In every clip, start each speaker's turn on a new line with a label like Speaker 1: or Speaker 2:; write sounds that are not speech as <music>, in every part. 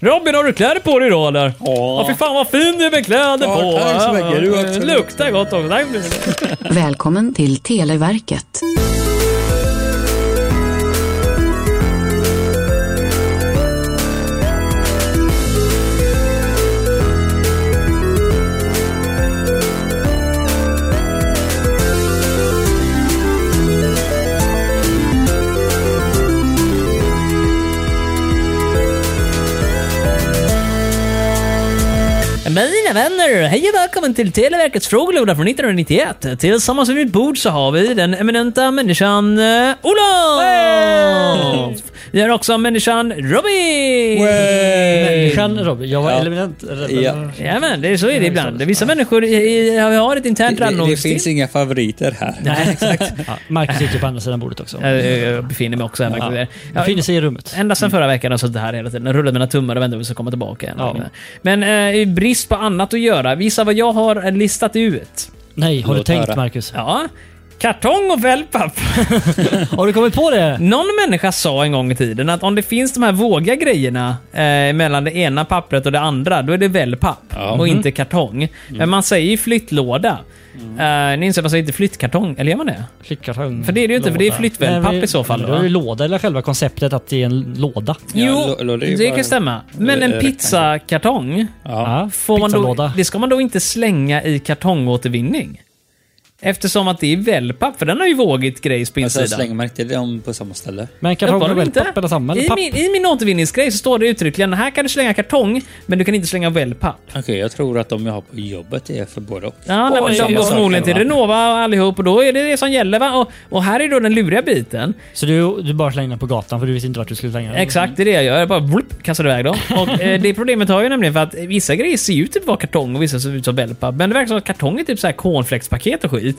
Speaker 1: Robin, har du kläder på dig idag eller? Ja. Fy fan vad fin du är med kläder
Speaker 2: Ja,
Speaker 1: på.
Speaker 2: tack så mycket. Du också.
Speaker 1: Luktar gott också. Tack.
Speaker 3: Välkommen till Televerket.
Speaker 1: Mina vänner, hej och välkommen till Televerkets frågelåda från 1991. Tillsammans vid mitt bord så har vi den eminenta människan eh, Olof! Vi har också människan Robin!
Speaker 4: Människan Robin. Jag var
Speaker 2: Ja.
Speaker 4: element...
Speaker 2: Ja.
Speaker 1: Jajamän, det är så är det ibland. Vissa människor i, i, har- har ett internt
Speaker 2: Det, det
Speaker 1: rangordningssystem.
Speaker 2: finns inga favoriter här.
Speaker 4: Nej, exakt. Ja, Marcus sitter ju på andra sidan bordet också.
Speaker 1: Jag, jag jag befinner mig också här. verkligen.
Speaker 4: Ja.
Speaker 1: Ja,
Speaker 4: Befinner sig i rummet.
Speaker 1: Ända
Speaker 2: Mm.
Speaker 1: sedan förra veckan har jag suttit här hela tiden. Jag rullat mina tummar och väntat på att komma tillbaka. igen.
Speaker 4: Ja.
Speaker 1: Men eh, i brist på annat att göra, visa vad jag har eh, listat ut.
Speaker 4: Nej, har du
Speaker 2: Låt
Speaker 4: tänkt
Speaker 2: höra.
Speaker 4: Marcus?
Speaker 1: Ja. Kartong och wellpapp. <laughs>
Speaker 4: Har du kommit på det?
Speaker 1: Någon människa sa en gång i tiden att om det finns de här vågiga grejerna eh, mellan det ena pappret och det andra, då är det wellpapp och
Speaker 2: Mm.
Speaker 1: inte kartong. Men man säger ju flyttlåda. Eh, ni inser att man säger inte flyttkartong, eller gör man det?
Speaker 4: Flyttkartong.
Speaker 1: För det är det ju inte, för det är flyttvällpapp
Speaker 4: Nej,
Speaker 1: i så fall,
Speaker 4: Det är
Speaker 1: va?
Speaker 4: ju låda eller själva konceptet att det är en låda.
Speaker 2: Ja,
Speaker 1: Jo,
Speaker 2: lo- lo- det är ju
Speaker 1: det
Speaker 2: bara-
Speaker 1: kan stämma. Men en
Speaker 2: eller
Speaker 1: pizzakartong,
Speaker 4: Ja.
Speaker 1: får man då,
Speaker 4: Pizzalåda.
Speaker 1: det ska man då inte slänga i kartongåtervinning. Eftersom att det är wellpapp, för den har ju vågigt grejs på
Speaker 2: Alltså,
Speaker 1: insidan.
Speaker 2: slänger man inte dem på samma ställe?
Speaker 4: Men kartong och wellpapp eller samma? Eller
Speaker 1: I
Speaker 4: papp?
Speaker 1: min, I min återvinningsgrej så står det uttryckligen här kan du slänga kartong, men du kan inte slänga wellpapp.
Speaker 2: Okej, jag tror att de jag har på jobbet är för både och.
Speaker 1: Ja, nej, men de
Speaker 2: Oj, jag
Speaker 1: går
Speaker 2: saknar
Speaker 1: förmodligen till
Speaker 2: va?
Speaker 1: Renova och allihop och då är det det som gäller. Va? Och, och här är då den luriga biten.
Speaker 4: Så du, du bara slänger den på gatan för du visste inte vart du skulle slänga den?
Speaker 2: Mm.
Speaker 1: Exakt, det är det jag gör. Jag bara vlup, kastar iväg dem. Och,
Speaker 2: <laughs>
Speaker 1: eh, det problemet har jag nämligen för att vissa grejer ser ju ut att vara kartong och vissa ser ut som wellpapp. Men det verkar som att kartong är typ så här cornflakespaket och skit.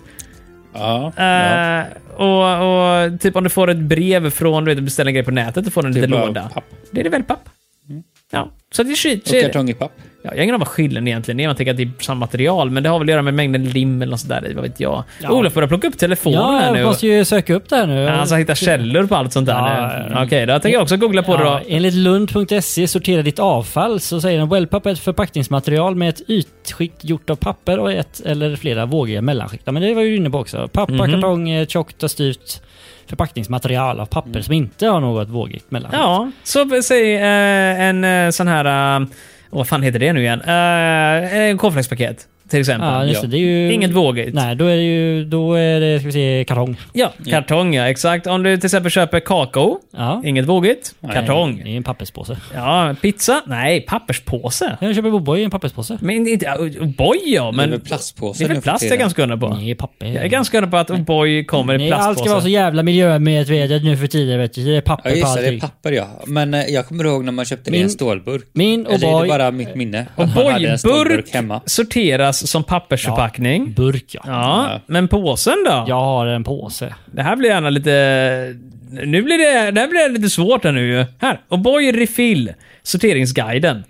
Speaker 2: Ja.
Speaker 1: Eh, och, och typ om du får ett brev från, du vet, beställer en grej på nätet, du får en
Speaker 2: Det är
Speaker 1: liten
Speaker 2: Typ bara
Speaker 1: låda.
Speaker 2: papp. Mm.
Speaker 1: Det är det väl papp? Ja, så det är skit. så
Speaker 2: Och
Speaker 1: är det.
Speaker 2: kartong i papp.
Speaker 1: Ja, jag har ingen aning vad skillnaden egentligen är. Man tänker att det är samma material, men det har väl att göra med mängden lim eller något sådär i, vad vet jag.
Speaker 4: Ja.
Speaker 1: Olof börjar plocka upp telefonen
Speaker 4: Ja,
Speaker 1: här nu.
Speaker 4: jag måste ju söka upp det här nu.
Speaker 1: Ja, alltså, Han ska hitta källor på allt sånt där
Speaker 4: Ja,
Speaker 1: nu.
Speaker 4: ja, ja.
Speaker 1: Okej, då tänker jag också googla på det då.
Speaker 4: Ja, enligt lund.se sortera ditt avfall så säger den wellpapp är ett förpackningsmaterial med ett ytskikt gjort av papper och ett eller flera vågiga mellanskikt. Ja, Men det var ju inne på också. Pappa,
Speaker 1: Mhm.
Speaker 4: kartong, eh, tjockt och styvt förpackningsmaterial av papper som inte har något vågigt mellanskikt.
Speaker 1: Ja, så b- säg eh, en eh, sån här... eh, vad fan heter det nu igen? Eh, en cornflakespaket, till exempel.
Speaker 4: Ja, just det. Det är ju...
Speaker 1: Inget vågigt.
Speaker 4: Nej, då är det ju då är det, ska vi se, kartong.
Speaker 1: Ja, kartong ja, exakt. Om du till exempel köper kakao,
Speaker 4: Ja.
Speaker 1: inget vågigt. Kartong.
Speaker 4: Det är en papperspåse.
Speaker 1: Ja, pizza? Nej, papperspåse.
Speaker 4: Jag köper O'boy i en papperspåse.
Speaker 1: Men inte... ja, O'boy ja,
Speaker 2: Det är
Speaker 1: men...
Speaker 2: väl plastpåse
Speaker 1: Det är
Speaker 2: nu
Speaker 1: väl
Speaker 2: för
Speaker 1: plast jag är
Speaker 2: tiden.
Speaker 1: ganska undra på.
Speaker 4: Nej, papper.
Speaker 1: Jag är ganska undra på att O'boy kommer i
Speaker 4: Nej, allt ska
Speaker 1: plastpåse.
Speaker 4: vara så jävla miljömedvetet nu för tiden. Vet du. Det är papper
Speaker 2: Ja just
Speaker 4: på
Speaker 2: det, det är
Speaker 4: allting.
Speaker 2: papper ja. Men eh, jag kommer ihåg när man köpte det i en
Speaker 4: Min-
Speaker 2: stålburk.
Speaker 4: min
Speaker 2: Eller är det
Speaker 4: O'boy-
Speaker 2: bara mitt minne? Och
Speaker 1: O'boy-burk
Speaker 2: hemma.
Speaker 1: sorteras som pappersförpackning.
Speaker 4: Burk, ja.
Speaker 1: Ja, men påsen då?
Speaker 4: Jag har en påse.
Speaker 1: Det här blir gärna lite... Nu blir det, det här blir lite svårt här nu ju. Här, O'boy Refill, sorteringsguiden.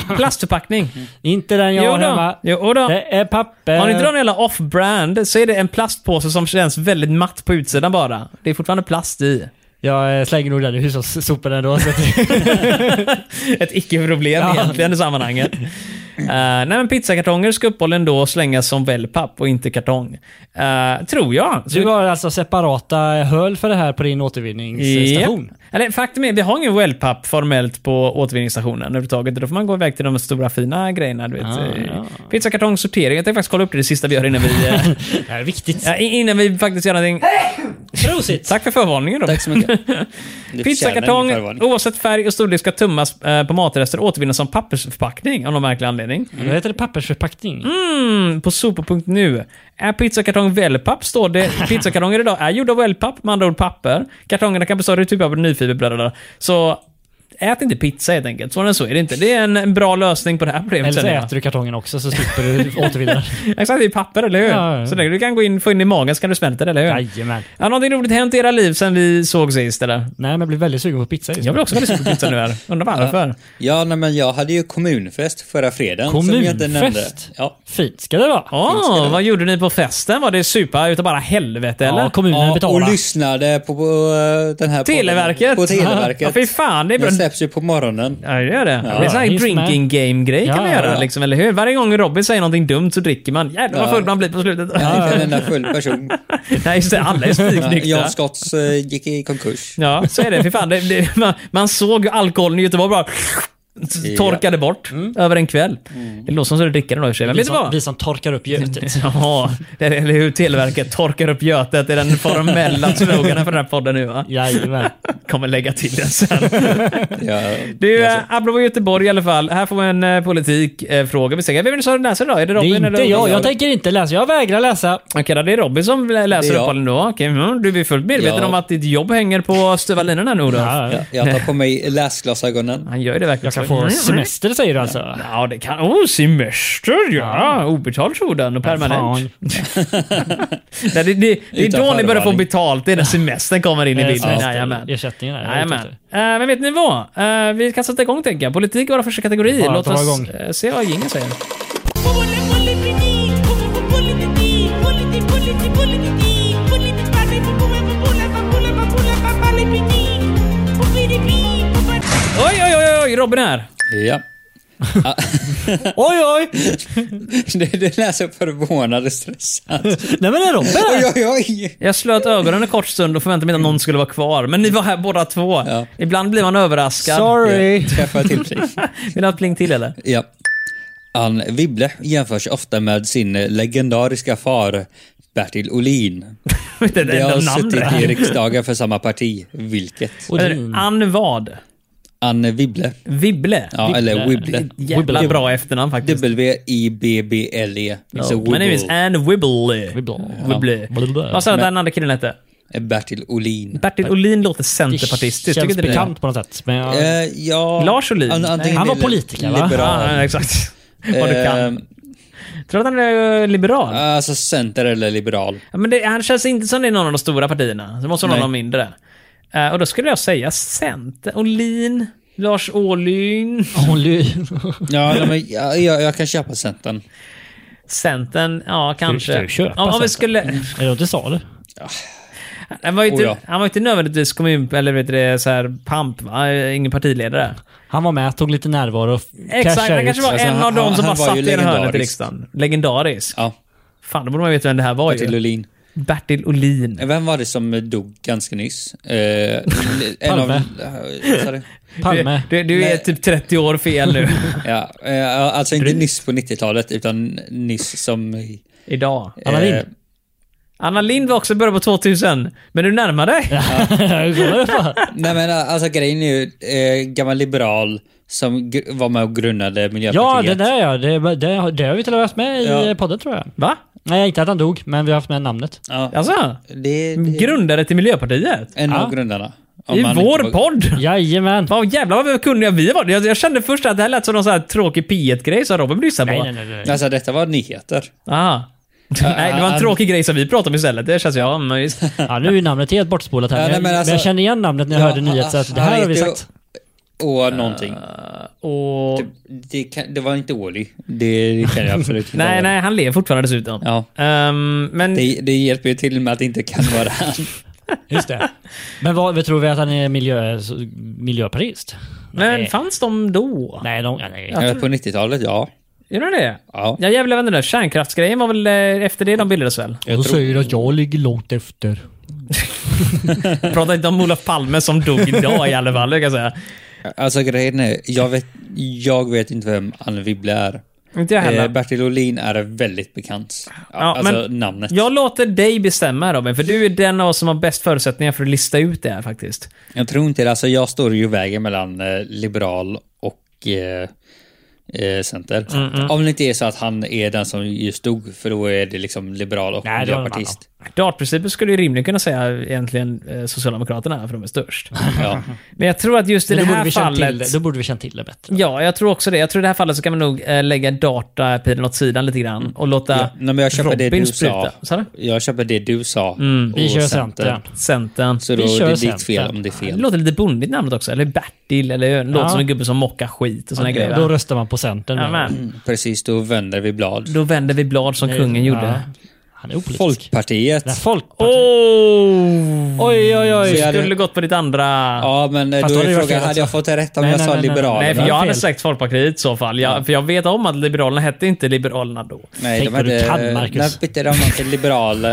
Speaker 1: Plastförpackning.
Speaker 4: Inte den jag
Speaker 1: Jo
Speaker 4: har
Speaker 1: då.
Speaker 4: hemma.
Speaker 1: Jo då.
Speaker 4: Det är papper.
Speaker 1: Har ni inte någon jävla off-brand så är det en plastpåse som känns väldigt matt på utsidan bara. Det är fortfarande plast i.
Speaker 4: Jag eh, slänger nog den i hushållssoporna ändå. så att-
Speaker 1: <laughs> Ett icke-problem
Speaker 4: Ja.
Speaker 1: egentligen i sammanhanget. <laughs> Eh, nej men pizzakartonger ska uppehållen då slängas som wellpapp och inte kartong. Eh, tror jag. Så-
Speaker 4: du har alltså separata höl för det här på din återvinningsstation.
Speaker 1: Ja. Eller, faktum är, vi har ingen wellpapp formellt på återvinningsstationen överhuvudtaget. Då får man gå iväg till de stora fina grejerna. Du vet.
Speaker 4: Ah,
Speaker 1: Eh,
Speaker 4: ja.
Speaker 1: Pizzakartong, sortering. Jag tänkte faktiskt kolla upp det, det sista vi gör innan <laughs> vi, eh,
Speaker 4: Det här är viktigt.
Speaker 1: ja, in- innan vi faktiskt gör någonting.
Speaker 4: Prosit!
Speaker 1: Tack för förvarningen då.
Speaker 2: Tack så mycket. Det förtjänar
Speaker 1: Pizzakartong,
Speaker 2: ingen förvarning.
Speaker 1: oavsett färg och storlek, ska tummas eh, på matrester och återvinnas som pappersförpackning av någon märklig anledning.
Speaker 4: Mm. Vad heter det? Pappersförpackning?
Speaker 1: Mm, på sopor.nu. Är pizzakartong wellpapp står
Speaker 4: <laughs>
Speaker 1: det. Pizzakartonger idag är gjorda av wellpapp, med andra ord papper. Kartongerna kan bestå av typ av nyfiberbröd. Så ät inte pizza helt enkelt. Svårare än så är det inte. Det är en, en bra lösning på det här problemet.
Speaker 4: Eller så
Speaker 1: känner jag.
Speaker 4: äter du kartongen också så slipper
Speaker 1: <laughs>
Speaker 4: du återvinna den.
Speaker 1: Exakt, det är papper, eller hur?
Speaker 4: Ja, ja.
Speaker 1: Så länge du kan gå in, få in i magen så kan du smälta det, eller hur?
Speaker 4: Jajamän.
Speaker 1: Har någonting roligt hänt i era liv sen vi såg sist, eller?
Speaker 4: Nej, men jag blir väldigt sugen på pizza just nu.
Speaker 1: Jag blir också väldigt sugen på pizza nu här. Undrar varför?
Speaker 2: Ja, nej, men jag hade ju kommunfest förra fredagen. Som jag inte nämnde.
Speaker 4: Kommunfest?
Speaker 2: Ja.
Speaker 4: Fint ska det vara.
Speaker 1: Åh, Ah, vad gjorde ni på festen? Var det supa utav bara helvete, eller?
Speaker 4: Ja, kommunen
Speaker 2: Ja, och
Speaker 4: betalar.
Speaker 2: lyssnade på, på eh, den här podden.
Speaker 1: Televerket? <laughs>
Speaker 2: På
Speaker 1: Ja,
Speaker 2: Televerket.
Speaker 1: fy fan, det är bra.
Speaker 2: Jag släpps ju på morgonen.
Speaker 1: Ja, det gör det.
Speaker 2: Ja,
Speaker 1: det är sån här
Speaker 4: just
Speaker 1: drinking game-grej kan
Speaker 4: Ja,
Speaker 1: man
Speaker 4: ja,
Speaker 1: göra,
Speaker 4: ja.
Speaker 1: liksom, eller hur? Varje gång Robin säger någonting dumt så dricker man. Jävlar vad
Speaker 2: Ja.
Speaker 1: full man blir på slutet.
Speaker 2: Ja, <laughs> inte en enda full person.
Speaker 1: <laughs> Nej, just det. Alla är
Speaker 2: Ja,
Speaker 1: spiknyktra.
Speaker 2: Jan Scotts eh, gick i konkurs.
Speaker 1: Ja, så är det. Fy fan, det, det, man, man såg ju alkoholen i Göteborg bara torkade bort
Speaker 2: Mm.
Speaker 1: över en kväll. Det låter som att du dricker den då i och för sig, men
Speaker 4: Vi
Speaker 1: vet du
Speaker 4: som,
Speaker 1: vad?
Speaker 4: vi som torkar
Speaker 1: <laughs>
Speaker 4: upp götet.
Speaker 1: Ja, det är- eller hur? Televerket torkar upp götet. Det är den
Speaker 2: <laughs>
Speaker 1: formella sloganen för den här podden nu va?
Speaker 4: Jajamän.
Speaker 1: Kommer lägga till den sen. <laughs>
Speaker 2: Ja, alltså-
Speaker 1: Du,
Speaker 2: jag
Speaker 1: eh, apropå Göteborg i alla fall. Här får vi en eh, politikfråga. Eh, Vem är det som läser idag? Är det
Speaker 4: Det
Speaker 1: Robin?
Speaker 4: är
Speaker 1: eller
Speaker 4: inte jag. Jag
Speaker 1: Okej,
Speaker 4: tänker inte läsa. Jag vägrar läsa.
Speaker 1: då, det är Robin som lä- läser
Speaker 2: Det är
Speaker 1: upp
Speaker 2: jag.
Speaker 1: den då. Okej, mm, du är fullt medveten
Speaker 2: Ja.
Speaker 1: om att ditt jobb hänger på styva linan här nu då.
Speaker 4: Ja,
Speaker 2: jag- jag tar på mig läsglasögonen.
Speaker 1: Han gör ju det verkligen.
Speaker 4: jag kan
Speaker 1: så.
Speaker 4: få
Speaker 1: Mm.
Speaker 4: semester säger du alltså?
Speaker 1: Ja, det kan... Oh, semester ja! Obetald sådan och permanent. <laughs> Nej, det, det, det är
Speaker 2: Utan
Speaker 1: då ni börjar få
Speaker 2: förvarning.
Speaker 1: betalt. Det är när semestern kommer in i bilden. Jajamän.
Speaker 4: Jajamän. Eh, Ersättningen är jag vet
Speaker 1: Jajamän.
Speaker 4: inte.
Speaker 1: Eh, men vet ni vad? Eh, vi kan sätta igång tänker jag. Politik är våra första kategori.
Speaker 4: Bara
Speaker 1: Låt
Speaker 4: dra
Speaker 1: oss
Speaker 4: igång.
Speaker 1: eh, se vad jingeln säger. Oj, oj, oj, oj, Robin här. <laughs>
Speaker 2: Ja. <laughs>
Speaker 4: Oj, oj!
Speaker 2: Det, det lät så förvånad
Speaker 1: <laughs>
Speaker 2: och stressad.
Speaker 4: Nej men är de
Speaker 2: Oj, oj, oj.
Speaker 1: Jag slöt ögonen en kort stund och förväntade mig att någon skulle vara kvar. Men ni var här båda två.
Speaker 2: Ja.
Speaker 1: Ibland blir man överraskad.
Speaker 4: Sorry.
Speaker 2: Jag träffade till precis.
Speaker 1: <laughs> Vill du ha ett pling till eller?
Speaker 2: Ja. Ann Wibble jämförs ofta med sin legendariska far Bertil Olin.
Speaker 1: Det är det
Speaker 2: De har
Speaker 1: enda namn
Speaker 2: suttit i
Speaker 1: där.
Speaker 2: riksdagen för samma parti. Vilket?
Speaker 1: Eller, Ann vad?
Speaker 2: Ann Wibble.
Speaker 1: Vibble?
Speaker 2: Ja, eller Wibble.
Speaker 1: Jävla
Speaker 4: Wibble.
Speaker 1: bra efternamn faktiskt.
Speaker 2: W-I-B-B-L-E. E. It's a
Speaker 1: Ja, Men anyways,
Speaker 2: wibble.
Speaker 1: Ann Wibble. Wibble.
Speaker 4: Wibble. Wibble.
Speaker 1: Vad sa du att den andra killen hette?
Speaker 2: Bertil Olin.
Speaker 1: Bertil Olin låter centerpartistisk. Tycker
Speaker 4: Känns
Speaker 1: inte ni?
Speaker 4: bekant på något sätt. Men jag... <laughs>
Speaker 2: Eh, ja,
Speaker 1: Lars Olin?
Speaker 2: an- antingen
Speaker 4: Han var
Speaker 2: li-
Speaker 4: politiker, va?
Speaker 1: Ja,
Speaker 2: Liberal.
Speaker 1: ja, exakt. <laughs> Vad du kan.
Speaker 2: Eh,
Speaker 1: Tror du att han är eh, liberal?
Speaker 2: Alltså center eller liberal.
Speaker 1: Ja, men det, han känns inte som det är någon av de stora partierna. Det måste vara någon
Speaker 2: Nej.
Speaker 1: av de mindre. Eh, och då skulle jag säga Center. Olin. Lars Åhlin.
Speaker 2: Ja, nej, men jag, jag, jag kan köpa centern.
Speaker 1: Centern, ja kanske.
Speaker 4: Ska du köpa
Speaker 1: om, om vi
Speaker 4: Centern?
Speaker 1: skulle...
Speaker 4: Är det inte sa
Speaker 1: Han var ju inte,
Speaker 2: Mm. Oh, ja.
Speaker 1: han var ju inte nödvändigtvis kommun... Eller vet du det, så här pamp va? Ingen partiledare.
Speaker 4: Han var med, tog lite närvaro och
Speaker 1: Exakt,
Speaker 4: cashade
Speaker 1: han
Speaker 4: ut.
Speaker 1: kanske var
Speaker 2: Alltså,
Speaker 1: en
Speaker 2: han-
Speaker 1: av dem
Speaker 2: han-
Speaker 1: som bara
Speaker 2: han var
Speaker 1: satt
Speaker 2: ju
Speaker 1: i en hörnet i
Speaker 2: legendarisk.
Speaker 1: riksdagen. Legendarisk.
Speaker 2: Ja,
Speaker 1: Fan, då borde man veta vem det här var
Speaker 2: Bertil
Speaker 1: ju.
Speaker 2: Olin. Eh,
Speaker 1: Bertil Olin.
Speaker 2: Vem var det som dog ganska nyss? Eh, en av...
Speaker 4: Palme.
Speaker 2: eh, sorry.
Speaker 4: Palme. <laughs>
Speaker 1: Du, du, du är
Speaker 2: Nej.
Speaker 1: typ 30 år fel
Speaker 2: <laughs>
Speaker 1: nu.
Speaker 2: Ja, eh, alltså inte nyss på 90-talet, utan nyss som... i-
Speaker 1: Idag.
Speaker 4: Anna
Speaker 2: eh,
Speaker 4: Lindh.
Speaker 1: Anna Lind var också i början på 2000. Men du närmar dig.
Speaker 4: Hur går det för?
Speaker 2: Nej men alltså grejen är ju, eh, gammal liberal som gr- var med och grundade
Speaker 4: Ja,
Speaker 2: Miljöpartiet.
Speaker 4: det där ja. Det, det, har- det har vi till och med haft med i
Speaker 2: Ja.
Speaker 4: podden tror jag.
Speaker 1: Va?
Speaker 4: Nej, inte att han dog, men vi har haft med namnet.
Speaker 2: Ja,
Speaker 1: Alltså?
Speaker 2: eh. det, det
Speaker 1: Grundare till Miljöpartiet?
Speaker 2: en av
Speaker 4: Ja.
Speaker 2: grundarna. Om
Speaker 1: I
Speaker 2: man liksom-
Speaker 1: vår
Speaker 2: inte var-
Speaker 1: podd?
Speaker 4: Jajamän.
Speaker 1: Vad jävlar vad kunniga vi var. Jag, jag kände först att det här lät som någon sån här tråkig P1-grej som Robin lyssnade på.
Speaker 4: Nej,
Speaker 1: Nej,
Speaker 4: nej, nej. nej.
Speaker 2: Alltså detta var nyheter.
Speaker 1: <laughs> nej, det var en
Speaker 2: ah,
Speaker 1: tråkig grej som vi pratade om istället. Det känns ja,
Speaker 2: <laughs>
Speaker 1: men visst.
Speaker 4: Ja, nu är namnet helt bortspolat här.
Speaker 2: Ja,
Speaker 4: men,
Speaker 2: nej,
Speaker 4: jag-
Speaker 2: men
Speaker 4: men
Speaker 2: alltså-
Speaker 4: jag kände igen namnet när jag
Speaker 2: Ja, alltså,
Speaker 4: hörde nyhet, så att det
Speaker 2: han
Speaker 4: här har vi
Speaker 2: heter
Speaker 4: sagt.
Speaker 2: Och någonting.
Speaker 1: Och...
Speaker 2: Typ, Det, kan, det var inte Åhly. Det, det kan jag absolut
Speaker 4: <laughs>
Speaker 2: inte
Speaker 1: Nej,
Speaker 2: vara.
Speaker 1: nej, han lever fortfarande dessutom.
Speaker 2: Ja.
Speaker 1: Ehm, men
Speaker 2: Det, det hjälper ju till med att det inte kan vara <laughs> han.
Speaker 4: Just det. Men vad, tror vi att han är miljö, miljöpartist?
Speaker 1: Men
Speaker 4: nej.
Speaker 1: fanns de då?
Speaker 4: Nej, de, ja, nej.
Speaker 2: Eh, På 90-talet, ja.
Speaker 1: Gjorde de det?
Speaker 2: Ja.
Speaker 1: Ja jävlar vem det där kärnkraftsgrejen var väl eh, efter det de bildades väl?
Speaker 4: De säger att jag ligger långt efter.
Speaker 1: Prata inte om Olof Palme som dog idag i alla fall, det kan jag säga.
Speaker 2: Alltså grejen är, jag vet, jag vet inte vem Anne Wibble är.
Speaker 1: Inte jag heller.
Speaker 2: Eh, Bertil Olin är väldigt bekant. Ja,
Speaker 1: Ja,
Speaker 2: alltså
Speaker 1: men-
Speaker 2: namnet.
Speaker 1: Jag låter dig bestämma Robin, för du är den av oss som har bäst förutsättningar för att lista ut det här faktiskt.
Speaker 2: Jag tror inte det. Alltså jag står ju i vägen mellan eh, liberal och eh, eh, center.
Speaker 4: Mm,
Speaker 2: Om det inte är så att han är den som just stod, för då är det liksom liberal och
Speaker 4: Nej, det var någon
Speaker 2: miljöpartist.
Speaker 1: Dartprincipen skulle ju rimligen kunna säga egentligen eh, Socialdemokraterna, för de är störst.
Speaker 2: Ja.
Speaker 4: <laughs>
Speaker 1: Men jag tror att just i
Speaker 4: Men
Speaker 1: det
Speaker 4: då, borde
Speaker 1: här
Speaker 4: vi känt till,
Speaker 1: fallet...
Speaker 4: det- då borde vi känt till det bättre.
Speaker 1: Ja, jag tror också det. Jag tror i det här fallet så kan man nog eh, lägga datapilen åt sidan lite grann och låta
Speaker 2: Ja. Nej, men jag köper det
Speaker 1: Robin
Speaker 2: du
Speaker 1: spruta.
Speaker 2: sa.
Speaker 1: Sa du?
Speaker 2: Jag köper det du sa.
Speaker 4: Mm, Vi
Speaker 2: och
Speaker 4: kör centern.
Speaker 1: Centern.
Speaker 2: Så då
Speaker 4: Vi
Speaker 2: är
Speaker 4: kör
Speaker 2: det
Speaker 4: centern.
Speaker 2: ditt fel om det är
Speaker 1: Det
Speaker 2: fel.
Speaker 1: låter lite bondigt namnet också. Eller Bertil, eller det låter
Speaker 4: Ja.
Speaker 1: som en gubbe som mockar skit och såna
Speaker 4: Okej,
Speaker 1: grejer.
Speaker 4: Då
Speaker 1: Då,
Speaker 4: röstar man på Centern.
Speaker 1: ja,
Speaker 4: men-
Speaker 1: men,
Speaker 2: Precis, då Mm, vänder vi blad.
Speaker 1: då vänder vi blad som
Speaker 4: Nej,
Speaker 1: kungen
Speaker 4: ja.
Speaker 1: gjorde.
Speaker 4: Han är opolitisk.
Speaker 2: Folkpartiet.
Speaker 4: Det här Folkpartiet.
Speaker 1: Oh!
Speaker 4: Oj, oj,
Speaker 1: Du
Speaker 2: Så
Speaker 4: oj.
Speaker 2: jag-
Speaker 1: skulle gått på ditt andra...
Speaker 2: Ja, men eh, då
Speaker 4: Fast då
Speaker 2: är
Speaker 4: hade det varit
Speaker 2: frågan,
Speaker 4: fel
Speaker 2: hade jag
Speaker 4: alltså.
Speaker 2: fått det rätt om
Speaker 4: Nej,
Speaker 2: jag
Speaker 4: nej,
Speaker 2: sa
Speaker 4: nej, nej.
Speaker 1: Nej,
Speaker 2: Liberalerna?
Speaker 1: för
Speaker 4: det
Speaker 1: jag
Speaker 4: var
Speaker 1: hade
Speaker 4: fel.
Speaker 1: sagt Folkpartiet i så fall. Jag, För jag vet om att Liberalerna hette inte Liberalerna då.
Speaker 2: Nej,
Speaker 4: Tänk vad du kan, Marcus.
Speaker 2: När bytte de namn till liberal,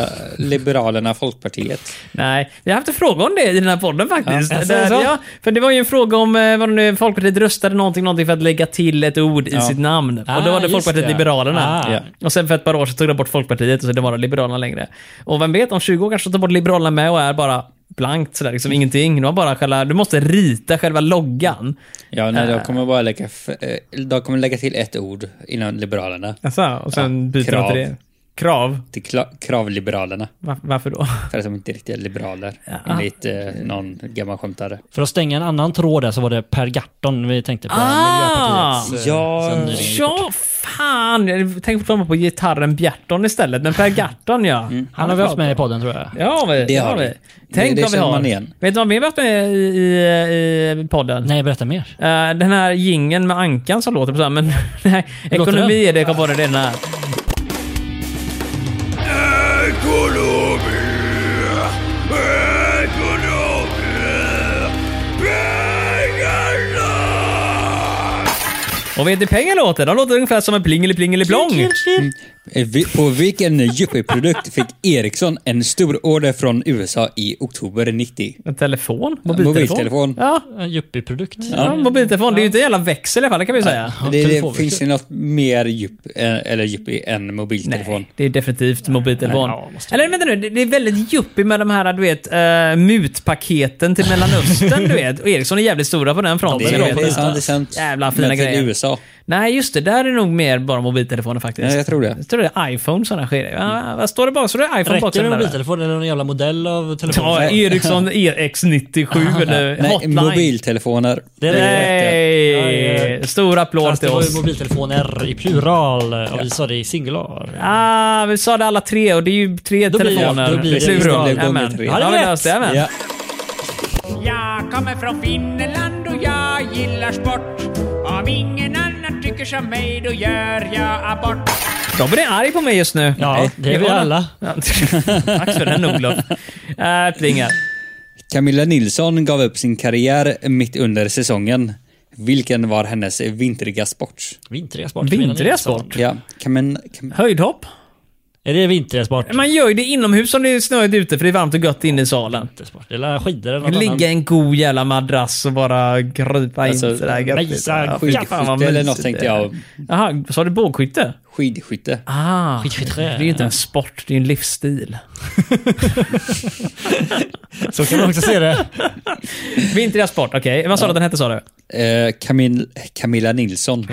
Speaker 2: Liberalerna Folkpartiet?
Speaker 1: Nej, vi har haft en fråga om det i den här podden faktiskt.
Speaker 4: Ja, jag säger
Speaker 1: Där,
Speaker 4: så.
Speaker 1: ja, för det var ju en fråga om eh, vad det nu, Folkpartiet röstade någonting, någonting för att lägga till ett ord i
Speaker 2: Ja.
Speaker 1: sitt namn.
Speaker 4: Ah,
Speaker 1: och då var det
Speaker 4: just
Speaker 1: Folkpartiet
Speaker 4: det.
Speaker 1: Liberalerna.
Speaker 4: Ah.
Speaker 1: Och sen för ett par år så tog de bort Folkpartiet och så det var det Liberalerna längre. Och vem vet, om 20 år kanske de tar bort Liberalerna med och är bara blankt sådär, liksom ingenting. Du, har bara själva, du måste rita själva loggan.
Speaker 2: Ja, nej, de kommer bara lägga, f- eh, de kommer lägga till ett ord innan Liberalerna.
Speaker 1: Alltså, och sen
Speaker 2: Ja,
Speaker 1: byter de
Speaker 2: krav.
Speaker 1: till det. Krav?
Speaker 2: Till kla- Kravliberalerna.
Speaker 1: Va- Varför då?
Speaker 2: För att de inte är riktiga liberaler.
Speaker 1: Ja.
Speaker 2: Enligt eh, någon gammal skämtare.
Speaker 4: För att stänga en annan tråd där så var det Per Gahrton vi tänkte på.
Speaker 1: Ah!
Speaker 4: Miljöpartiets, eh,
Speaker 2: Ja.
Speaker 4: som nyligen gick bort.
Speaker 1: Ja, fan! Jag tänkte fortfarande på gitarren Bjarton istället, men Per Garton ja.
Speaker 4: Han har vi haft med i podden tror jag.
Speaker 1: Ja, vi, det har vi. Tänk
Speaker 2: det
Speaker 1: vad vi
Speaker 2: känner
Speaker 1: har.
Speaker 2: man igen.
Speaker 1: Vet du vad vi har varit med i, i, i podden?
Speaker 4: Nej, berätta mer.
Speaker 1: Eh, den här gingen med ankan som låter på så här, men <laughs> nej,
Speaker 4: låter
Speaker 1: ekonomi är det jag kom på det den här. Och vet ni hur pengar låter? De låter ungefär som en plingeli-plingeli-plong.
Speaker 2: Eh, vi- På vilken Yuppie-produkt fick Ericsson en stor order från USA i oktober 90?
Speaker 1: En telefon? Mobiltelefon?
Speaker 2: Mobiltelefon.
Speaker 1: Ja,
Speaker 4: En yuppieprodukt.
Speaker 1: ja, mobiltelefon. Det är ju inte en jävla växel i alla fall, det kan vi ju säga.
Speaker 2: Det, det,
Speaker 4: telefonväxel.
Speaker 2: finns det något mer djup, eh, eller djup än mobiltelefon?
Speaker 1: Nej, det är definitivt mobiltelefon.
Speaker 4: Nej, ja, måste
Speaker 1: Eller vänta nu, det det är väldigt yuppie med de här du vet, uh, mutpaketen till Mellanöstern du vet. Och Ericsson är jävligt stora på den fronten.
Speaker 2: Det
Speaker 1: jag
Speaker 2: är,
Speaker 1: vet
Speaker 2: det är
Speaker 1: inte.
Speaker 2: sant. Det är sant.
Speaker 1: Jävla fina
Speaker 2: Men till
Speaker 1: grejer.
Speaker 2: USA.
Speaker 1: Nej, just det. Där är nog mer bara mobiltelefoner faktiskt.
Speaker 2: Ja, jag tror det. Mm.
Speaker 1: Jag tror det är iPhone sådana sker. Ja, vad står det bara? Så det är iPhone
Speaker 4: Räcker
Speaker 1: bakom
Speaker 4: det med
Speaker 1: den där?
Speaker 4: mobiltelefon eller någon jävla modell av telefon?
Speaker 1: Ja, Ericsson EX97 eller
Speaker 2: Nej,
Speaker 1: Hotline.
Speaker 2: mobiltelefoner.
Speaker 4: Det är Ja,
Speaker 1: Nej!
Speaker 4: ja.
Speaker 1: Stor applåd
Speaker 4: Fast
Speaker 1: till
Speaker 4: det var ju
Speaker 1: oss.
Speaker 4: mobiltelefoner i plural och vi sa det i singular.
Speaker 1: Ah, vi sa det alla tre och det är ju tre
Speaker 4: Då blir det-
Speaker 1: telefoner.
Speaker 4: då blir det-
Speaker 1: Plural.
Speaker 4: då blir det
Speaker 2: gånger
Speaker 1: Jajamän.
Speaker 2: tre.
Speaker 1: Ja, det
Speaker 4: Ja,
Speaker 1: var
Speaker 4: det är
Speaker 1: löst.
Speaker 4: rätt.
Speaker 1: Jajamän.
Speaker 2: Ja.
Speaker 5: Jag kommer från Finland och jag gillar sport. Om ingen annan tycker som mig, då gör jag abort.
Speaker 1: Robin är arg på mig just nu.
Speaker 4: Ja, det är vi
Speaker 1: Ja.
Speaker 4: alla.
Speaker 1: Ja. Tack för den Olof. Äh, plingar.
Speaker 2: Camilla Nilsson gav upp sin karriär mitt under säsongen. Vilken var hennes vintriga sport?
Speaker 4: Vintriga sport.
Speaker 1: Vintriga sport?
Speaker 2: Ja, Camin, Cam,
Speaker 1: Höjdhopp?
Speaker 4: Är det vintriga sport?
Speaker 1: Man gör ju det inomhus om det är snöigt ute för det är varmt och gött inne i salen.
Speaker 4: Vintersport. Eller skidor eller något
Speaker 1: Ligga i en god jävla madrass och bara krypa in
Speaker 2: Alltså,
Speaker 1: sådär gött.
Speaker 4: mejsa,
Speaker 1: Ja, fy fan, vad
Speaker 2: skidskytte eller
Speaker 1: mysigt
Speaker 2: något
Speaker 1: det
Speaker 2: tänkte
Speaker 1: är.
Speaker 2: jag.
Speaker 1: Jaha, sa du bågskytte?
Speaker 2: Skidskytte.
Speaker 1: Ah, det
Speaker 4: Skidskytte.
Speaker 1: är ju inte en sport, det är ju en livsstil.
Speaker 4: annat. Så kan man också se <laughs> det.
Speaker 1: Vintriga sport, okej. Vad sa du att den hette sa du?
Speaker 2: Eh, Camil, Camilla Nilsson.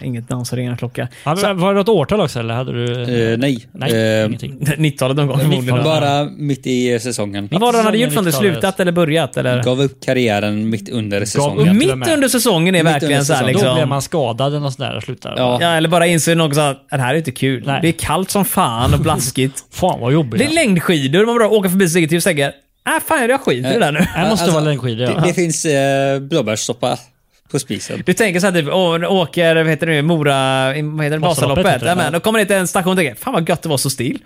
Speaker 1: Inget namn så ringer en klocka.
Speaker 4: Ja, men Var det något årtal också eller hade du?
Speaker 2: Eh, nej.
Speaker 4: Nej,
Speaker 2: Eh,
Speaker 4: ingenting.
Speaker 1: 90-talet någon gång förmodligen.
Speaker 4: Ja.
Speaker 2: bara mitt i säsongen.
Speaker 1: Vad var det han hade gjort från det?
Speaker 4: Säsongen
Speaker 1: Slutat eller börjat? Eller?
Speaker 2: Gav upp karriären mitt under
Speaker 1: Och
Speaker 4: upp.
Speaker 2: säsongen.
Speaker 4: till och
Speaker 1: mitt
Speaker 4: med.
Speaker 1: under säsongen är
Speaker 2: Mitt
Speaker 1: verkligen
Speaker 2: under
Speaker 1: så här
Speaker 2: säsongen.
Speaker 4: Då blev
Speaker 1: liksom...
Speaker 4: man skadad eller något sånt där och slutade.
Speaker 2: Ja.
Speaker 1: Ja, eller bara inser någon så att det här är inte kul.
Speaker 4: Nej. Oh,
Speaker 1: Det är kallt som fan och blaskigt.
Speaker 4: Fan vad jobbigt.
Speaker 1: Det är längdskidor, man bara åker förbi sitt eget hus och tänker Äh, fan jag skiter i det där nu.
Speaker 2: Eh,
Speaker 4: Jag måste vara längdskidor
Speaker 2: Det,
Speaker 4: ja.
Speaker 2: alltså, det finns eh, blåbärssoppa på spisen.
Speaker 1: Du tänker såhär typ, åh, åker, vad heter det nu, Mora, vad heter det,
Speaker 4: Vasaloppet
Speaker 1: Vasaloppet.
Speaker 4: heter det.
Speaker 1: Jajamän, Då kommer ni till en station och tänker, fan vad gött det var så still.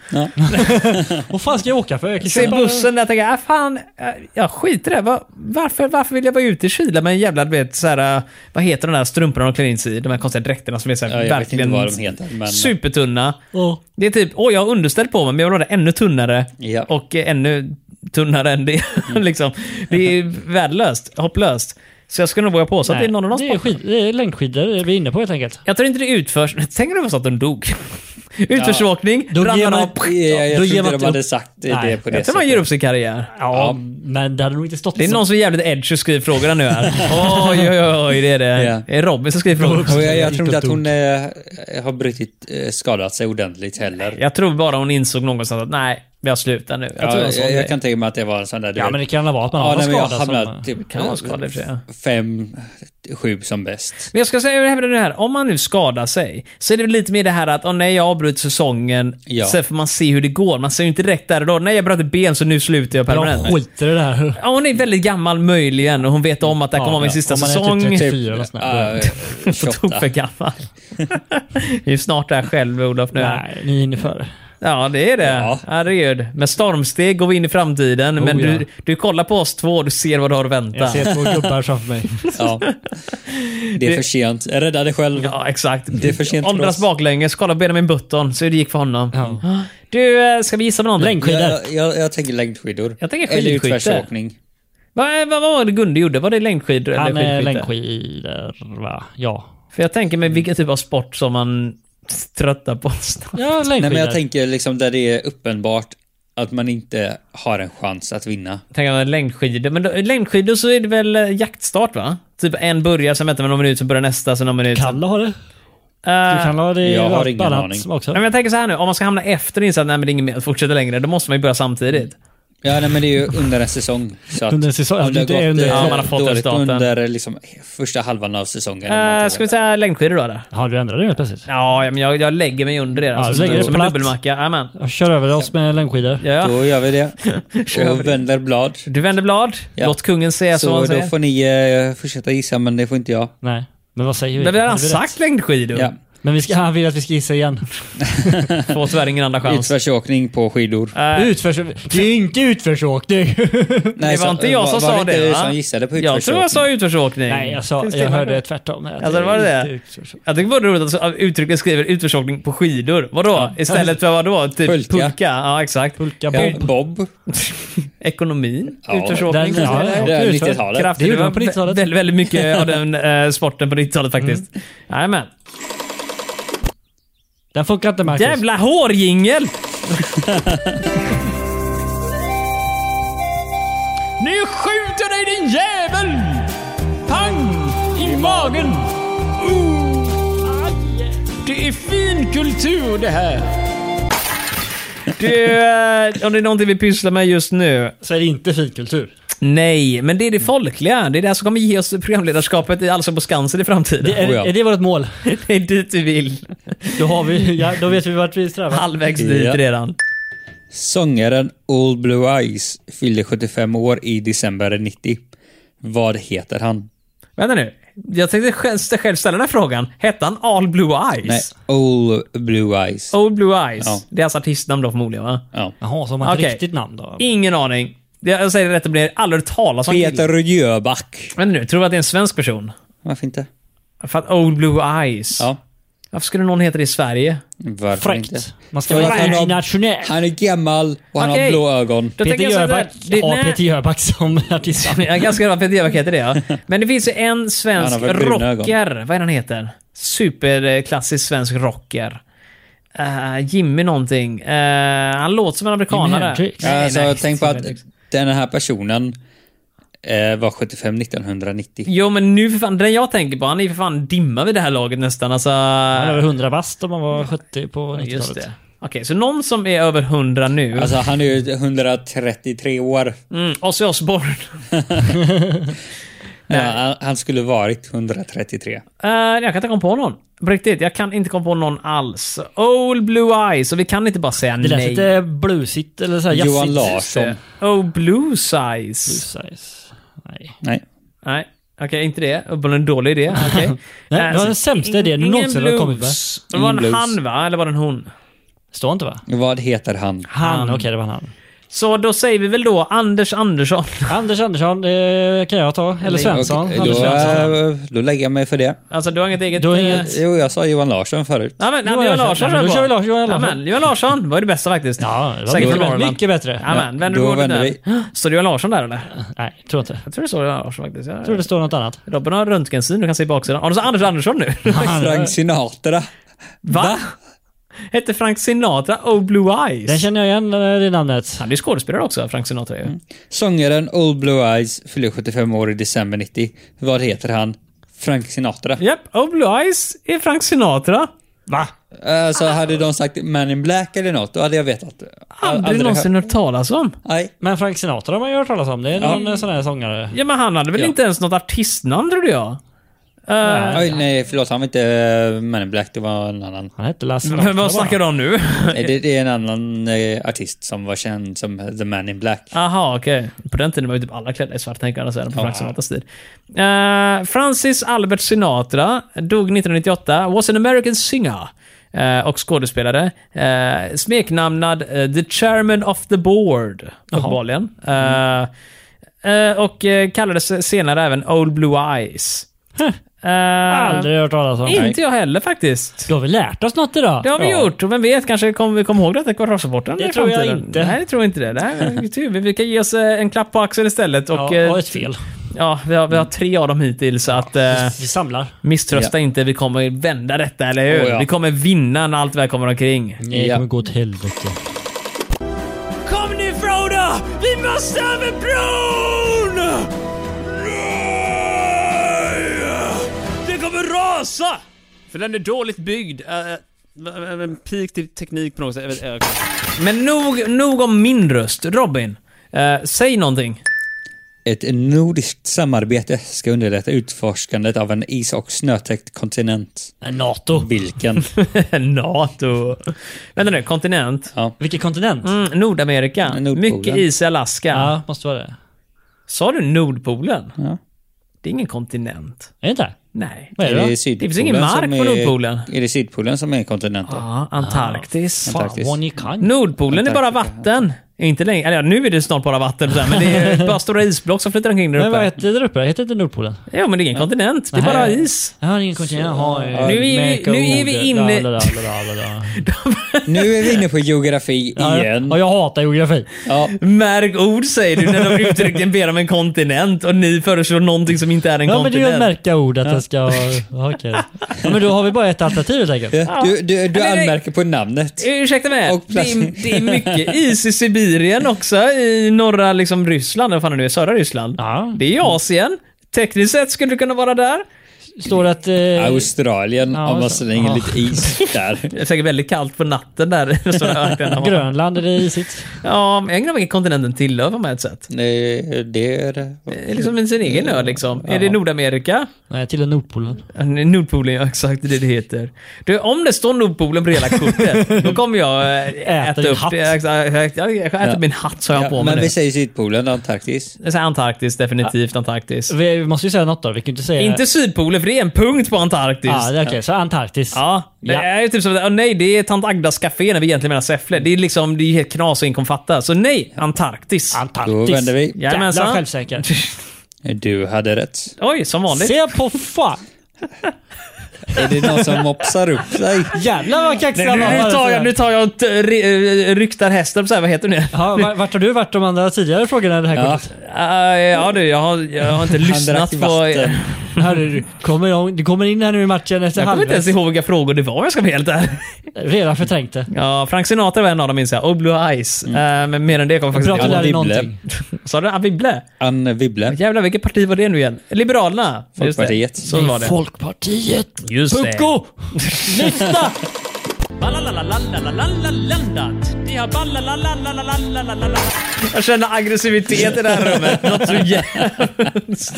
Speaker 4: Vad fan ska jag åka för? Jag kan
Speaker 1: Ser
Speaker 4: köpa-
Speaker 1: bussen där och tänker, äh, fan, äh, jag skiter i det. Va- Varför, varför vill jag vara ute i kyla med en jävla, du vet, så här, äh, vad heter de där strumporna de klär in sig i? De här konstiga dräkterna som är så här,
Speaker 2: Ja, jag vet
Speaker 1: verkligen
Speaker 2: inte vad de heter, men-
Speaker 1: supertunna.
Speaker 4: Ja.
Speaker 1: Det är typ, åh jag har underställt på mig men jag vill ha det ännu tunnare.
Speaker 2: Ja. Mm.
Speaker 1: Och eh, ännu tunnare än det. <laughs> liksom. Det är värdelöst, hopplöst. Så jag skulle nog våga påstå att det är någon av dem
Speaker 4: det, är
Speaker 1: som
Speaker 4: skid, det är längdskidor det är vi är inne på helt enkelt.
Speaker 1: Jag tror inte det utförs. <laughs> Tänk om det var så att de dog. <laughs> Utförsåkning,
Speaker 4: Då
Speaker 1: ramlar
Speaker 4: ger man-
Speaker 1: av.
Speaker 2: Ja, jag
Speaker 4: Då
Speaker 2: tror
Speaker 4: ger
Speaker 2: inte
Speaker 4: man
Speaker 2: de
Speaker 4: inte
Speaker 2: hade
Speaker 4: upp.
Speaker 2: sagt det, typ-
Speaker 4: Nej,
Speaker 2: det på det
Speaker 1: Jag tror man ger upp sin karriär.
Speaker 4: Ja, men det hade nog inte stått
Speaker 1: Det är
Speaker 4: så.
Speaker 1: någon som är jävligt edgy och skriver frågorna nu
Speaker 2: <laughs>
Speaker 1: här. Oj, oj, oj, oj, det är det.
Speaker 2: Ja.
Speaker 1: Det är Robin som skriver frågor.
Speaker 2: Och jag, jag
Speaker 4: gick
Speaker 2: tror
Speaker 4: och
Speaker 2: inte att
Speaker 4: tog.
Speaker 2: hon eh, har brutit, eh, skadat sig ordentligt heller.
Speaker 1: Jag tror bara hon insåg någonstans att nej, vi har slutat nu. Jag tror
Speaker 2: Ja,
Speaker 1: hon sa
Speaker 2: jag, jag
Speaker 1: det.
Speaker 2: kan tänka mig att det var en sån där... du
Speaker 4: Ja,
Speaker 2: vet-
Speaker 4: men det kan vara att man
Speaker 2: ja,
Speaker 4: har
Speaker 2: nej, men jag
Speaker 4: någon skada
Speaker 2: hamnade
Speaker 4: som...
Speaker 2: typ
Speaker 1: Kan vara skadad i och för sig,
Speaker 2: eh, fem, sju som bäst.
Speaker 1: Men jag ska säga jag hävdar det här, om man nu skadar sig, så är det väl lite mer det här att, åh nej, jag avbryter säsongen,
Speaker 2: Ja.
Speaker 1: sen får man se hur det går. Man ser ju inte direkt där och då, nej jag bröt ett ben så nu slutar jag permanent.
Speaker 4: Jag skiter i det här.
Speaker 1: Ja, hon är väldigt gammal möjligen och hon vet om att det här kommer
Speaker 4: Ja,
Speaker 1: vara min
Speaker 4: ja.
Speaker 1: sista
Speaker 4: Om man
Speaker 1: säsong.
Speaker 4: är typ 30.
Speaker 1: <laughs>
Speaker 2: Typ,
Speaker 4: Fyra eller sånt där.
Speaker 2: eh,
Speaker 1: På tok <laughs>
Speaker 2: 28.
Speaker 1: för gammal. Vi är ju snart där själv Olof nu.
Speaker 4: Nej, ni är inne för
Speaker 1: Ja, det är det.
Speaker 2: Ja.
Speaker 1: Herregud. Med stormsteg går vi in i framtiden,
Speaker 4: Oh,
Speaker 1: men du,
Speaker 4: ja.
Speaker 1: du kollar på oss två och du ser vad du har att vänta.
Speaker 4: Jag ser två gubbar framför mig.
Speaker 2: Ja. Det är för sent. Rädda dig själv.
Speaker 1: Ja, exakt.
Speaker 2: Det är för sent för
Speaker 1: Åldras
Speaker 2: oss.
Speaker 1: baklänges, kolla Benjamin Button, så hur det gick för honom.
Speaker 4: Ja.
Speaker 1: Du, eh, ska vi gissa på någonting?
Speaker 4: Längdskidor.
Speaker 2: Jag, jag, jag tänker längdskidor.
Speaker 1: Jag tänker
Speaker 2: Eller
Speaker 1: skidskytte.
Speaker 2: utförsåkning.
Speaker 1: eh, Vad, vad var det Gunde gjorde? Var det längdskidor
Speaker 4: Han
Speaker 1: eller
Speaker 4: är
Speaker 1: skidskytte?
Speaker 4: längdskidor va? Ja.
Speaker 1: För jag tänker mig vilken typ av sport som man tröttar på.
Speaker 4: Ja,
Speaker 2: Nej,
Speaker 4: längdskidor.
Speaker 2: men jag tänker liksom där det är uppenbart att man inte har en chans att vinna.
Speaker 1: tänker mig längdskidor. Men då, längdskidor så är det väl eh, jaktstart va? Typ en börjar, sen väntar man någon minut, sen börjar nästa, sen någon minut. sen-
Speaker 4: Kalle har det.
Speaker 1: Eh,
Speaker 4: Du kan ha det i
Speaker 2: jag har
Speaker 4: allt
Speaker 2: ingen
Speaker 4: annat
Speaker 2: aning.
Speaker 4: som också.
Speaker 1: Nej, men jag tänker så här nu, om man ska hamna efter och inse att nej, men det är inget mer att fortsätta längre, då måste man ju börja samtidigt.
Speaker 2: Ja, nej, men det är ju under en säsong. Så att
Speaker 4: Under en säsong? Ja,
Speaker 2: om det har
Speaker 4: det är under-
Speaker 2: eh,
Speaker 1: Ja, man har fått
Speaker 2: dåligt
Speaker 1: resultaten.
Speaker 2: under liksom, första halvan av säsongen. eller
Speaker 1: Eh,
Speaker 2: någonting.
Speaker 1: ska vi säga längdskidor då? Där?
Speaker 4: Har du ändrat dig helt plötsligt?
Speaker 1: Ja, ja, men jag, jag lägger mig under det. Alltså,
Speaker 4: du lägger
Speaker 1: som,
Speaker 4: dig
Speaker 1: som en
Speaker 4: platt.
Speaker 1: dubbelmacka. Jajamän.
Speaker 4: Jag Kör över oss med längdskidor.
Speaker 1: Ja, ja.
Speaker 2: Då gör
Speaker 1: <laughs>
Speaker 2: vi det. Och vänder blad.
Speaker 1: Du vänder blad.
Speaker 2: Ja.
Speaker 1: Låt kungen säga som
Speaker 2: Så
Speaker 1: han
Speaker 2: då
Speaker 1: säger.
Speaker 2: får ni eh, fortsätta gissa, men det får inte jag.
Speaker 4: Nej. Men vad säger vi?
Speaker 1: Men vi har redan
Speaker 4: Hade vi
Speaker 1: sagt
Speaker 4: rätt?
Speaker 1: längdskidor.
Speaker 2: Ja.
Speaker 4: Men vi ska, han vill att vi ska gissa igen.
Speaker 1: Får tyvärr ingen andra chans.
Speaker 2: Utförsåkning på skidor.
Speaker 1: Eh,
Speaker 4: Utförs... Det är inte utförsåkning!
Speaker 2: Nej,
Speaker 1: det var
Speaker 2: så-
Speaker 1: inte jag som
Speaker 2: var
Speaker 1: sa
Speaker 2: det
Speaker 1: det,
Speaker 2: inte du
Speaker 1: va?
Speaker 2: som gissade på
Speaker 1: jag tror jag sa utförsåkning.
Speaker 4: Nej, jag, sa,
Speaker 1: Finns det
Speaker 4: jag
Speaker 1: någon-
Speaker 4: hörde tvärtom. här, att
Speaker 1: Alltså, var det
Speaker 4: inte
Speaker 1: det?
Speaker 4: utförsåkning.
Speaker 1: Jag tycker bara det är roligt att uttrycket skriver utförsåkning på skidor. Vadå? Istället för vadå? Typ pulka.
Speaker 2: Pulka.
Speaker 1: Ja, exakt.
Speaker 4: Pulka
Speaker 2: Ja,
Speaker 4: bob.
Speaker 2: Bob.
Speaker 1: <laughs> Ekonomin.
Speaker 2: Ja,
Speaker 1: utförsåkning.
Speaker 4: den- ja,
Speaker 2: Det är
Speaker 4: Utför-
Speaker 2: 90-talet.
Speaker 1: Krafter.
Speaker 4: Det gjorde
Speaker 1: var
Speaker 4: man på Mm. 90-talet.
Speaker 1: Väldigt, väldigt mycket av den eh, sporten på 90-talet faktiskt. Jajamän.
Speaker 4: Den funkar inte Marcus.
Speaker 1: Jävla hårjingel!
Speaker 5: Nu skjuter dig din jävel! Pang! I magen! Uh. Det är fin kultur det här.
Speaker 1: Du, eh, om det är någonting vi pysslar med just nu.
Speaker 4: Så är det inte finkultur.
Speaker 1: Nej, men det är det folkliga. Det är det här som kommer ge oss programledarskapet i Allsång på Skansen i framtiden.
Speaker 4: Det,
Speaker 1: Det
Speaker 4: är,
Speaker 2: Oh, ja.
Speaker 4: är det vårt mål?
Speaker 1: är, det är dit vi vill.
Speaker 4: Då, har vi, ja, då vet vi vart vi strävar.
Speaker 1: Halvvägs dit
Speaker 2: Ja.
Speaker 1: redan.
Speaker 2: Sångaren Old Blue Eyes fyllde 75 år i december 90. Vad heter han?
Speaker 1: Vänta nu. Jag tänkte själv, själv ställa den här frågan. Hette han All Blue Eyes?
Speaker 2: Nej, Old Blue Eyes.
Speaker 1: Old Blue Eyes.
Speaker 2: Ja.
Speaker 1: Det är hans artistnamn då förmodligen va?
Speaker 2: Ja.
Speaker 4: Jaha, så har man ett
Speaker 1: Okej.
Speaker 4: riktigt namn då?
Speaker 1: Ingen aning. Det- Jag säger det rätt och blir aldrig hört talas om killen.
Speaker 2: Peter Jöback.
Speaker 1: Men nu, tror du att det är en svensk person?
Speaker 2: Varför inte?
Speaker 1: För att Old Blue Eyes.
Speaker 2: Ja,
Speaker 1: Varför skulle någon heta det i Sverige?
Speaker 2: varför inte?
Speaker 4: Fräckt. Man ska
Speaker 2: Jag
Speaker 4: vara
Speaker 2: vet inte om-
Speaker 4: internationell.
Speaker 2: Han är gammal och han
Speaker 1: Okej.
Speaker 2: har blå ögon.
Speaker 1: Då
Speaker 4: Peter
Speaker 1: tänker jag så här,
Speaker 4: Jöback
Speaker 1: det-
Speaker 4: har
Speaker 1: nej.
Speaker 4: Peter Jöback som <laughs> artist.
Speaker 1: Jag är ganska glad att Peter Jöback heter det ja.
Speaker 2: <laughs>
Speaker 1: Men det finns ju en svensk
Speaker 2: Han har väl bruna
Speaker 1: rocker. Vad är han heter? Superklassisk svensk rocker. Eh, Jimmy någonting. Eh, han låter som en
Speaker 4: Jimi
Speaker 1: amerikanare.
Speaker 4: Hendrix.
Speaker 1: Nej,
Speaker 2: Alltså,
Speaker 1: nej,
Speaker 2: tänk på
Speaker 1: Jimi
Speaker 2: att
Speaker 1: Hendrix.
Speaker 2: den här personen eh, var 75
Speaker 4: Mm.
Speaker 2: 1990.
Speaker 1: Jo men nu för fan, den jag tänker på, han är för fan dimma vid det här laget nästan. Alltså...
Speaker 4: Han var över 100 bast om man var 70 på
Speaker 1: Just det.
Speaker 4: 90-talet.
Speaker 1: Okej, så någon som är över 100 nu.
Speaker 2: Alltså han är ju 133 år.
Speaker 1: Mm, Ozzy Osbourne. <laughs>
Speaker 2: Ja, han- han skulle varit 133.
Speaker 1: Eh, jag kan inte komma på någon. På riktigt, jag kan inte komma på någon alls. Old Blue Eyes, och vi kan inte bara säga
Speaker 4: Det lät
Speaker 1: nej.
Speaker 4: lite bluesigt eller så här jazzigt.
Speaker 2: Johan Larsson.
Speaker 1: Oh, Blue Size.
Speaker 4: Bluesize. Nej.
Speaker 2: Nej.
Speaker 1: Nej, okej, inte det. Uppenbarligen en dålig
Speaker 4: <laughs>
Speaker 1: idé. Okej.
Speaker 4: Nej,
Speaker 1: Eh,
Speaker 4: det var
Speaker 1: så-
Speaker 4: den sämsta idén du
Speaker 1: ingen
Speaker 4: någonsin har kommit med.
Speaker 1: blues. Det var en
Speaker 2: Ingen blues.
Speaker 1: han va? Eller var det en hon?
Speaker 4: Står inte va?
Speaker 2: Vad heter han?
Speaker 4: Han, okej det var han.
Speaker 1: Så då säger vi väl då Anders Andersson. <laughs>
Speaker 4: Anders Andersson eh, kan jag ta. Eller Svensson.
Speaker 2: Okej,
Speaker 4: Anders
Speaker 2: då,
Speaker 4: Svensson.
Speaker 2: eh, då lägger jag mig för det.
Speaker 1: Alltså du har inget eget...
Speaker 4: Du har
Speaker 1: eh,
Speaker 4: inget-
Speaker 2: Jo, jag sa Johan Larsson förut.
Speaker 1: Ja, men,
Speaker 4: Johan
Speaker 1: Johan Larsson
Speaker 4: Larsson. Ja, men då kör vi Lars- Johan
Speaker 1: Ja,
Speaker 4: Larsson.
Speaker 1: men, Johan Larsson var ju det bästa faktiskt.
Speaker 4: Ja, det var
Speaker 1: Säkert
Speaker 4: mycket
Speaker 1: från
Speaker 4: bättre.
Speaker 1: Norrland.
Speaker 4: Mycket bättre.
Speaker 1: Ja, men, vänder
Speaker 2: då
Speaker 1: du
Speaker 2: vänder
Speaker 1: vi. Står det Johan Larsson där eller?
Speaker 4: Nej, tror inte.
Speaker 1: Jag tror det står Johan Larsson faktiskt. Jag
Speaker 4: Jag tror det står något annat.
Speaker 1: Robin har röntgensyn, du kan se baksidan. Har du så Anders Andersson nu?
Speaker 2: Frank Sinatra.
Speaker 1: Va? <laughs> Hette Frank Sinatra Oh Blue Eyes?
Speaker 4: Den känner Mm. jag igen, eh, det namnet.
Speaker 1: Han är ju skådespelare också, Frank Sinatra ju.
Speaker 2: Sångaren Old Blue Eyes fyller 75 år i december 90. Vad heter han? Frank Sinatra.
Speaker 1: Japp, Oh Blue Eyes är Frank Sinatra.
Speaker 4: Va?
Speaker 2: Alltså, hade de sagt Man in Black eller något, då hade jag vetat. Aldrig,
Speaker 4: Alltså,
Speaker 1: Aldrig någonsin hört talas om.
Speaker 2: hört. Nej.
Speaker 4: Men Frank Sinatra har man ju hört talas om. Det är någon eh, sån här sångare.
Speaker 1: Ja, men han hade väl
Speaker 2: Ja.
Speaker 1: inte ens något artistnamn trodde jag. Eh,
Speaker 2: Oj, nej, förlåt. Han var inte eh, Man in Black, det var en annan.
Speaker 4: Han hette Lasse
Speaker 1: men vad snackar du om nu?
Speaker 2: Nej, det, det är en annan eh, artist som var känd som The Man in Black.
Speaker 1: Aha, okej. På den tiden var ju typ alla klädda i svart, tänker jag säga, på Frank Sinatras tid. Eh, Francis Albert Sinatra dog 1998, was an American singer. eh, och skådespelare. Eh, smeknamnad eh, The Chairman of the Board, uppenbarligen. Eh,
Speaker 4: Mm.
Speaker 1: eh, och eh, kallades senare även Old Blue Eyes. Eh,
Speaker 4: Aldrig hört talas om.
Speaker 1: Inte jag heller faktiskt.
Speaker 4: Då har vi lärt oss något idag.
Speaker 1: Det har vi gjort, och vem vet, kanske kommer vi komma ihåg detta i kvartalsrapporten
Speaker 4: Det
Speaker 1: i
Speaker 4: tror jag
Speaker 1: framtiden.
Speaker 4: inte.
Speaker 1: Nej, det tror jag inte det. det här är tur. Vi vi kan ge oss eh, en klapp på axeln istället. Och,
Speaker 4: ja,
Speaker 1: eh,
Speaker 4: och ett fel.
Speaker 1: ja, vi, har, vi har tre av dem hittills, så att... eh,
Speaker 4: Vi samlar.
Speaker 1: Misströsta inte, vi kommer vända detta, eller hur?
Speaker 2: Oh, ja.
Speaker 1: Vi kommer vinna när allt väl kommer omkring.
Speaker 4: Det
Speaker 2: Ja.
Speaker 4: kommer gå åt helvete.
Speaker 1: Kom nu Frodo! Vi måste över bron! Nej! Det kommer rasa! För den är dåligt byggd. Äh,
Speaker 5: En pik till teknik på något sätt. Jag vet- jag-
Speaker 1: Men nog, nog om min röst. Robin, eh, säg någonting. <laughs>
Speaker 2: Ett nordiskt samarbete ska underlätta utforskandet av en is och snötäckt kontinent.
Speaker 4: Eh, NATO.
Speaker 1: <laughs>
Speaker 2: Vilken?
Speaker 1: NATO. Vänta nu, kontinent.
Speaker 4: Vilken kontinent?
Speaker 1: Mm, Nordamerika.
Speaker 2: Nordpolen.
Speaker 1: Mycket is i Alaska.
Speaker 4: Ja, måste vara det.
Speaker 1: Sa du Nordpolen?
Speaker 2: Ja.
Speaker 1: Det är ingen kontinent.
Speaker 4: Är det inte?
Speaker 1: Nej.
Speaker 4: Vad är det?
Speaker 2: Är
Speaker 4: då?
Speaker 2: det Sydpolen
Speaker 1: finns ingen mark
Speaker 2: som
Speaker 1: på
Speaker 2: är-
Speaker 1: Nordpolen.
Speaker 2: Är det Sydpolen som är kontinenten?
Speaker 1: Ja, Antarktis.
Speaker 2: Ah.
Speaker 4: Fan, vad ni kan.
Speaker 1: Mm. Nordpolen är bara
Speaker 2: Antarktika.
Speaker 1: vatten. Inte längre. Eller ja, nu är det snart bara vatten. så här, Men det
Speaker 4: <laughs>
Speaker 1: är bara stora isblock som flyter omkring där
Speaker 4: Men vad
Speaker 1: uppe.
Speaker 4: heter det där uppe? Heter det inte Nordpolen?
Speaker 1: Jo, men det är ingen kontinent. Det är
Speaker 4: Nej.
Speaker 1: bara is.
Speaker 4: Ja, det är ingen kontinent. Jaha, eh,
Speaker 1: Nu är vi-
Speaker 4: America,
Speaker 1: nu är vi
Speaker 4: Oda,
Speaker 1: inne-
Speaker 4: la, la, la, la, la,
Speaker 1: <laughs>
Speaker 4: la.
Speaker 2: Nu är vi inne på geografi
Speaker 4: Ja,
Speaker 2: igen.
Speaker 4: Ja, jag hatar geografi.
Speaker 2: Ja.
Speaker 1: Märk ord säger du när de uttryckligen ber om en kontinent och ni föreslår någonting som inte är en
Speaker 4: Ja, men det är ju att
Speaker 1: kontinent.
Speaker 4: märka ord att den ska...
Speaker 1: <laughs>
Speaker 4: Ja, okej. Ja, men då har vi bara ett alternativ helt enkelt.
Speaker 2: Du, du, du
Speaker 1: det-
Speaker 2: anmärker på namnet.
Speaker 1: Ursäkta mig.
Speaker 2: Och
Speaker 1: det,
Speaker 2: plötsligt-
Speaker 1: är, det är mycket is i Sibirien också. I norra liksom, Ryssland. Vad fan är det? Södra Ryssland.
Speaker 4: Ja.
Speaker 1: Det är i Asien. Tekniskt sett skulle du kunna vara där.
Speaker 4: Står det att... Eh,
Speaker 2: Australien,
Speaker 4: Ja,
Speaker 2: om man
Speaker 4: alltså.
Speaker 2: slänger
Speaker 4: Ja.
Speaker 2: lite is där.
Speaker 1: Det är säkert väldigt kallt på natten där. <laughs> i den stora öknen.
Speaker 4: Grönland, är det isigt?
Speaker 1: Ja, men jag undrar vilken kontinenten tillhör på ett sätt.
Speaker 2: <laughs> Nej, det är det.
Speaker 1: Det är liksom sin egen ö liksom. Är det Nordamerika?
Speaker 4: Nej, till och med Nordpolen.
Speaker 1: Ja, Nordpolen, <laughs> ja exakt det är det det heter. Du, om det står Nordpolen på hela kortet, då kommer jag eh, äta
Speaker 4: din
Speaker 1: upp
Speaker 4: hatt.
Speaker 1: det. Exakt, exakt. Jag jag äter
Speaker 2: Ja.
Speaker 1: min hatt så jag
Speaker 2: Ja,
Speaker 1: på mig
Speaker 2: men
Speaker 1: nu.
Speaker 2: vi säger Sydpolen, Antarktis.
Speaker 1: Så här, Antarktis, definitivt Antarktis.
Speaker 4: Vi, vi måste ju säga något då. Vi kan ju inte säga...
Speaker 1: Inte Sydpolen, för det är en punkt på Antarktis.
Speaker 4: Ja, det är okej. Så Antarktis.
Speaker 1: Ja, det
Speaker 4: Ja.
Speaker 1: är ju typ som att, åh nej, det är tant Agdas café när vi egentligen menar Säffle. Det är liksom, det är helt knas och inkomfatta. Så nej, Antarktis.
Speaker 4: Antarktis.
Speaker 2: Då vänder vi.
Speaker 1: Jajamensan.
Speaker 4: Jävla självsäker.
Speaker 2: Du hade rätt.
Speaker 1: Oj, som vanligt.
Speaker 4: Se på fan!
Speaker 2: Är det någon som mopsar upp sig?
Speaker 4: Jävlar vad kaxig
Speaker 1: Nu,
Speaker 4: han var.
Speaker 1: nu tar jag, nu tar jag och t- ry- ryktar hästen, så här, vad heter du nu?
Speaker 4: Ja, var- vart har du varit de andra tidigare frågorna i det här
Speaker 2: Ja.
Speaker 4: kortet?
Speaker 1: Eh, ja du, jag har, jag har inte lyssnat
Speaker 2: drack
Speaker 1: på...
Speaker 2: vatten.
Speaker 4: Herre, du, kommer, jag- du kommer in här nu i matchen efter
Speaker 1: Jag kommer inte
Speaker 4: halvlek.
Speaker 1: ens ihåg vilka frågor det var om jag ska vara helt ärlig.
Speaker 4: Redan förträngt det.
Speaker 1: Ja, Frank Sinatra var en av dem minns jag. Oh Blue Eyes. Eh, men mer än det kommer jag faktiskt
Speaker 4: Bra
Speaker 1: inte
Speaker 4: att du
Speaker 1: ihåg.
Speaker 2: Anne
Speaker 4: lärde dig
Speaker 2: Wibble.
Speaker 4: någonting.
Speaker 1: Sa du Anne Wibble?
Speaker 2: Anne Wibble,
Speaker 1: Jävlar, vilket parti var det nu igen? Liberalerna? Just det.
Speaker 2: Folkpartiet.
Speaker 1: Så var det.
Speaker 4: Folkpartiet!
Speaker 1: Just det.
Speaker 4: Pucko! Lyfta!
Speaker 1: Jag känner aggressivitet i det här rummet. Något så jävligt.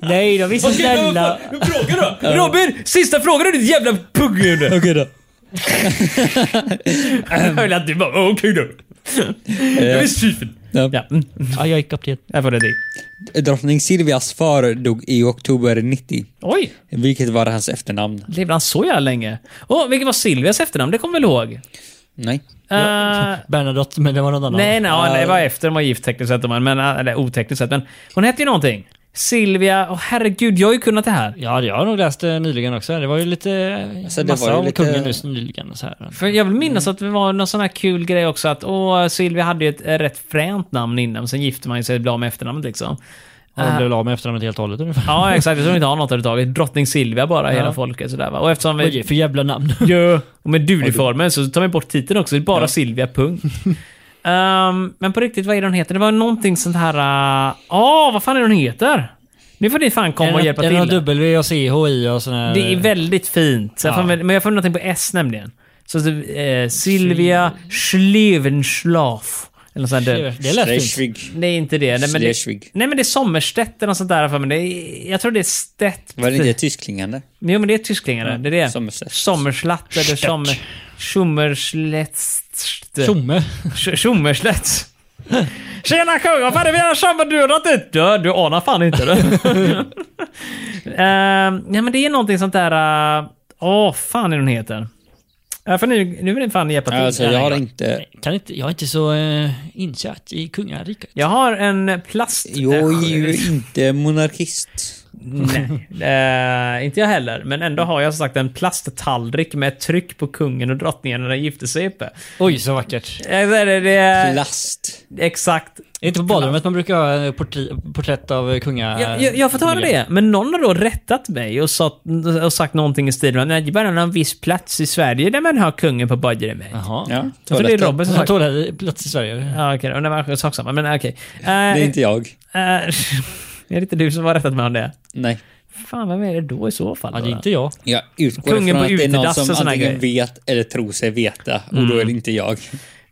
Speaker 4: Nej, de är så snälla.
Speaker 1: Fråga då! Robin! Sista frågan är ditt jävla pugghuvud! Okej
Speaker 2: då.
Speaker 1: Jag hörde att du bara okej då. Jag är syfen. Ja, mm.
Speaker 4: Ja, jag är kapten.
Speaker 1: Där var det dig.
Speaker 2: Drottning Silvias far dog i oktober 90,
Speaker 1: Oj!
Speaker 2: vilket var hans efternamn.
Speaker 1: Levde han så jävla länge? Åh, vilket var Silvias efternamn? Det kommer väl ihåg?
Speaker 2: Nej.
Speaker 1: Eh,
Speaker 4: Bernadotte, men det var någon
Speaker 1: <laughs>
Speaker 4: annan.
Speaker 1: nej, nej, ja, det var efter de var gift tekniskt sett. Men, eh, eller otekniskt sett. Men hon hette ju någonting. Silvia... Åh herregud, jag har ju kunnat det här.
Speaker 4: Ja, jag har nog läst det nyligen också. Det var ju lite
Speaker 2: Alltså, det
Speaker 4: massa
Speaker 2: var ju
Speaker 4: om
Speaker 2: lite-
Speaker 4: kungen nyss nyligen. Och så här.
Speaker 1: För jag vill minnas att det var någon sån här kul grej också att åh, Silvia hade ju ett eh, rätt fränt namn innan, men sen gifte man ju sig och blev av med efternamnet liksom.
Speaker 4: Och de blev av med efternamnet helt och hållet ungefär.
Speaker 1: Ja, exakt. Jag tror inte ha något överhuvudtaget. Drottning Silvia bara, hela
Speaker 4: Ja.
Speaker 1: folket sådär va. Och eftersom
Speaker 4: Vad är det
Speaker 1: vi...
Speaker 4: för jävla <laughs> namn?
Speaker 1: Ja. Och med dudiformen så tar vi bort titeln också. Det är bara Silvia, punkt. Ehm, men på riktigt, vad är det hon heter? Det var någonting sånt här... eh, Åh, vad fan är det hon heter? Nu får ni fan komma och hjälpa
Speaker 4: Är det någon
Speaker 1: till.
Speaker 4: W och CH i och sådär?
Speaker 1: Det är väldigt fint. Så jag
Speaker 4: Ja.
Speaker 1: får, men jag får någonting på S nämligen. Så, så, eh, Silvia Schlevenschlaf. Eller något sånt där.
Speaker 4: Det lät fint.
Speaker 2: Schleswig.
Speaker 1: Det är inte det. Nej men det,
Speaker 2: Schleswig.
Speaker 1: nej, men det är Sommerstedt eller något sånt där för mig. Det är, jag tror det är Stett.
Speaker 2: Var det inte tysklingande?
Speaker 1: Jo men det är tysklingare. Det är det.
Speaker 2: Sommerstedt.
Speaker 1: Sommerslatt eller Sommer... Schummerslätt...
Speaker 4: Tjomme.
Speaker 1: Sch- Tjommerslätt. Tjena kung, vad fan är det vi har sommardurat ut? Ja, du anar fan inte
Speaker 2: <laughs>
Speaker 1: det. Ehm, uh, nej men det är någonting sånt där... eh, Åh, äh, fan är hon heter? Ja, för nu, nu vill ni fan hjälpa till.
Speaker 2: Alltså,
Speaker 1: den
Speaker 2: jag
Speaker 1: här
Speaker 2: har
Speaker 1: gången.
Speaker 2: inte...
Speaker 4: <laughs> Kan inte, jag är inte så eh, insatt i kungariket.
Speaker 1: jag har en plast...
Speaker 2: Jag är ju inte monarkist.
Speaker 1: Nej, eh, inte jag heller. Men ändå har jag som sagt en plasttallrik med ett tryck på kungen och drottningen när de gifte sig uppe.
Speaker 4: Oj, så vackert.
Speaker 1: Eh, Det, det, det,
Speaker 2: Plast.
Speaker 1: exakt.
Speaker 4: Är det inte på badrummet man brukar ha eh, portri- porträtt av eh, kunga...
Speaker 2: Äh,
Speaker 1: Jag, jag, jag har fått höra det, men någon har då rättat mig och, sa, och sagt någonting i stil med att det bara är någon viss plats i Sverige där man har kungen på badrummet.
Speaker 4: Jaha. Ja.
Speaker 2: Ja,
Speaker 1: Så det är
Speaker 2: toaletten.
Speaker 1: Robin som
Speaker 4: Jag
Speaker 1: sagt.
Speaker 4: tog det här plats i Sverige.
Speaker 1: Ja, okej. Okay, det var sak samma, men okej. Okay.
Speaker 2: Det är inte jag.
Speaker 1: är <laughs> det inte du som har rättat mig om det?
Speaker 2: Nej.
Speaker 1: Fan, vem är det då i så fall?
Speaker 4: Ja,
Speaker 1: då?
Speaker 4: det är inte jag.
Speaker 2: Jag utgår
Speaker 1: Kungen
Speaker 2: ifrån
Speaker 1: på
Speaker 2: att det är någon
Speaker 1: utedass och
Speaker 2: som
Speaker 1: såna Mm.
Speaker 2: antingen vet eller tror sig veta. Och då är det inte jag.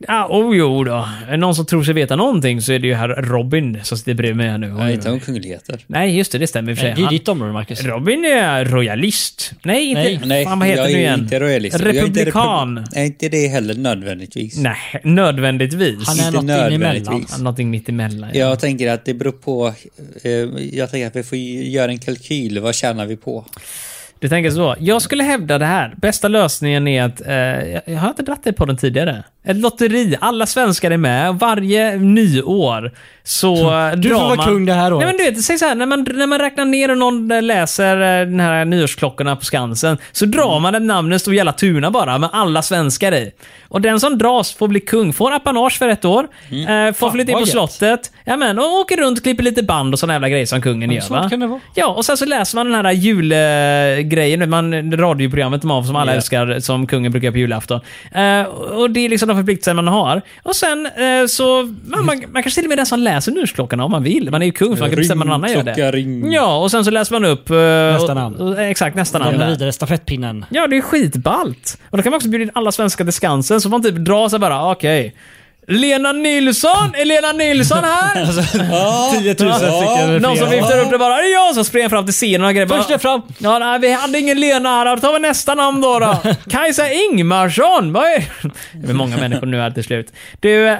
Speaker 1: Ah, oh, jo då. Är det någon som tror sig veta någonting så är det ju herr Robin som sitter bredvid mig här nu.
Speaker 2: Jag är inte om kungligheter.
Speaker 1: Nej, just det. Det stämmer i och för
Speaker 4: Det
Speaker 1: sig.
Speaker 4: är
Speaker 1: Han-
Speaker 4: ditt område, Marcus.
Speaker 1: Robin är royalist. Nej, inte...
Speaker 4: Nej,
Speaker 2: Nej,
Speaker 1: fan, vad heter
Speaker 2: jag
Speaker 1: du
Speaker 2: är
Speaker 1: igen?
Speaker 2: inte royalist. Jag är inte
Speaker 1: Republikan.
Speaker 2: republi- Nej, inte det heller nödvändigtvis.
Speaker 1: Nej, nödvändigtvis.
Speaker 4: Han är
Speaker 2: Inte
Speaker 4: något in emellan.
Speaker 2: nödvändigtvis.
Speaker 1: Han är Någonting mitt emellan. Ja.
Speaker 2: Jag tänker att det beror på... Eh, jag tänker att vi får ju göra en kalkyl. Vad tjänar
Speaker 1: <laughs>
Speaker 2: vi på?
Speaker 1: Du tänker så. Jag skulle hävda det här. Bästa lösningen är att... Eh, jag- jag har inte dratt det på den tidigare. Ett lotteri. Alla svenskar är med. Varje nyår så eh,
Speaker 4: Du får
Speaker 1: drar
Speaker 4: vara
Speaker 1: man...
Speaker 4: kung det här
Speaker 1: Nej
Speaker 4: året.
Speaker 1: men du vet, säg så här, när man, när man räknar ner och någon eh, läser eh, den här nyårsklockorna på Skansen så
Speaker 4: Mm.
Speaker 1: drar man ett namn, det står Jävla Tuna bara, med alla svenskar i. Och den som dras får bli kung, får apanage för ett år, eh, får flytta in
Speaker 4: Mm. vad
Speaker 1: på
Speaker 4: gött.
Speaker 1: slottet, ja, men, och åker runt, klipper lite band och såna jävla grejer som kungen gör.
Speaker 4: svårt
Speaker 1: Va?
Speaker 4: kan det vara.
Speaker 1: Ja, och sen så läser man den här julgrejen, man, radioprogrammet de har som alla älskar, som kungen brukar göra på julafton. Eh, och det är liksom de förpliktelser man har. Och sen eh, så, man, man, man kanske till och med är den som läser nyårsklockorna om man vill. Man är ju kung så man kan
Speaker 2: Ring,
Speaker 1: bestämma någon annan gör
Speaker 2: klocka,
Speaker 1: det.
Speaker 2: ring.
Speaker 1: Ja, och sen så läser man upp... eh,
Speaker 4: Nästa
Speaker 1: och,
Speaker 4: namn.
Speaker 1: Och, exakt, nästa namn.
Speaker 4: Lämna
Speaker 1: där.
Speaker 4: vidare stafettpinnen.
Speaker 1: Ja, det är skitballt. Och då kan man också bjuda in alla svenskar till Skansen, så man typ drar sig bara, okej. Lena Nilsson! Är Lena Nilsson
Speaker 4: <laughs>
Speaker 1: här?
Speaker 2: Ja,
Speaker 4: 10 000 stycken.
Speaker 1: Någon som viftar upp det bara, det är jag som sprang fram till scenen och grejer. Bara,
Speaker 4: Först är fram.
Speaker 1: Ja, nej, vi hade ingen Lena här, då tar vi nästa namn då.
Speaker 4: <laughs>
Speaker 1: då. Kajsa Ingmarsson! Vad är <laughs> det? är många människor nu här till slut. Du, eh,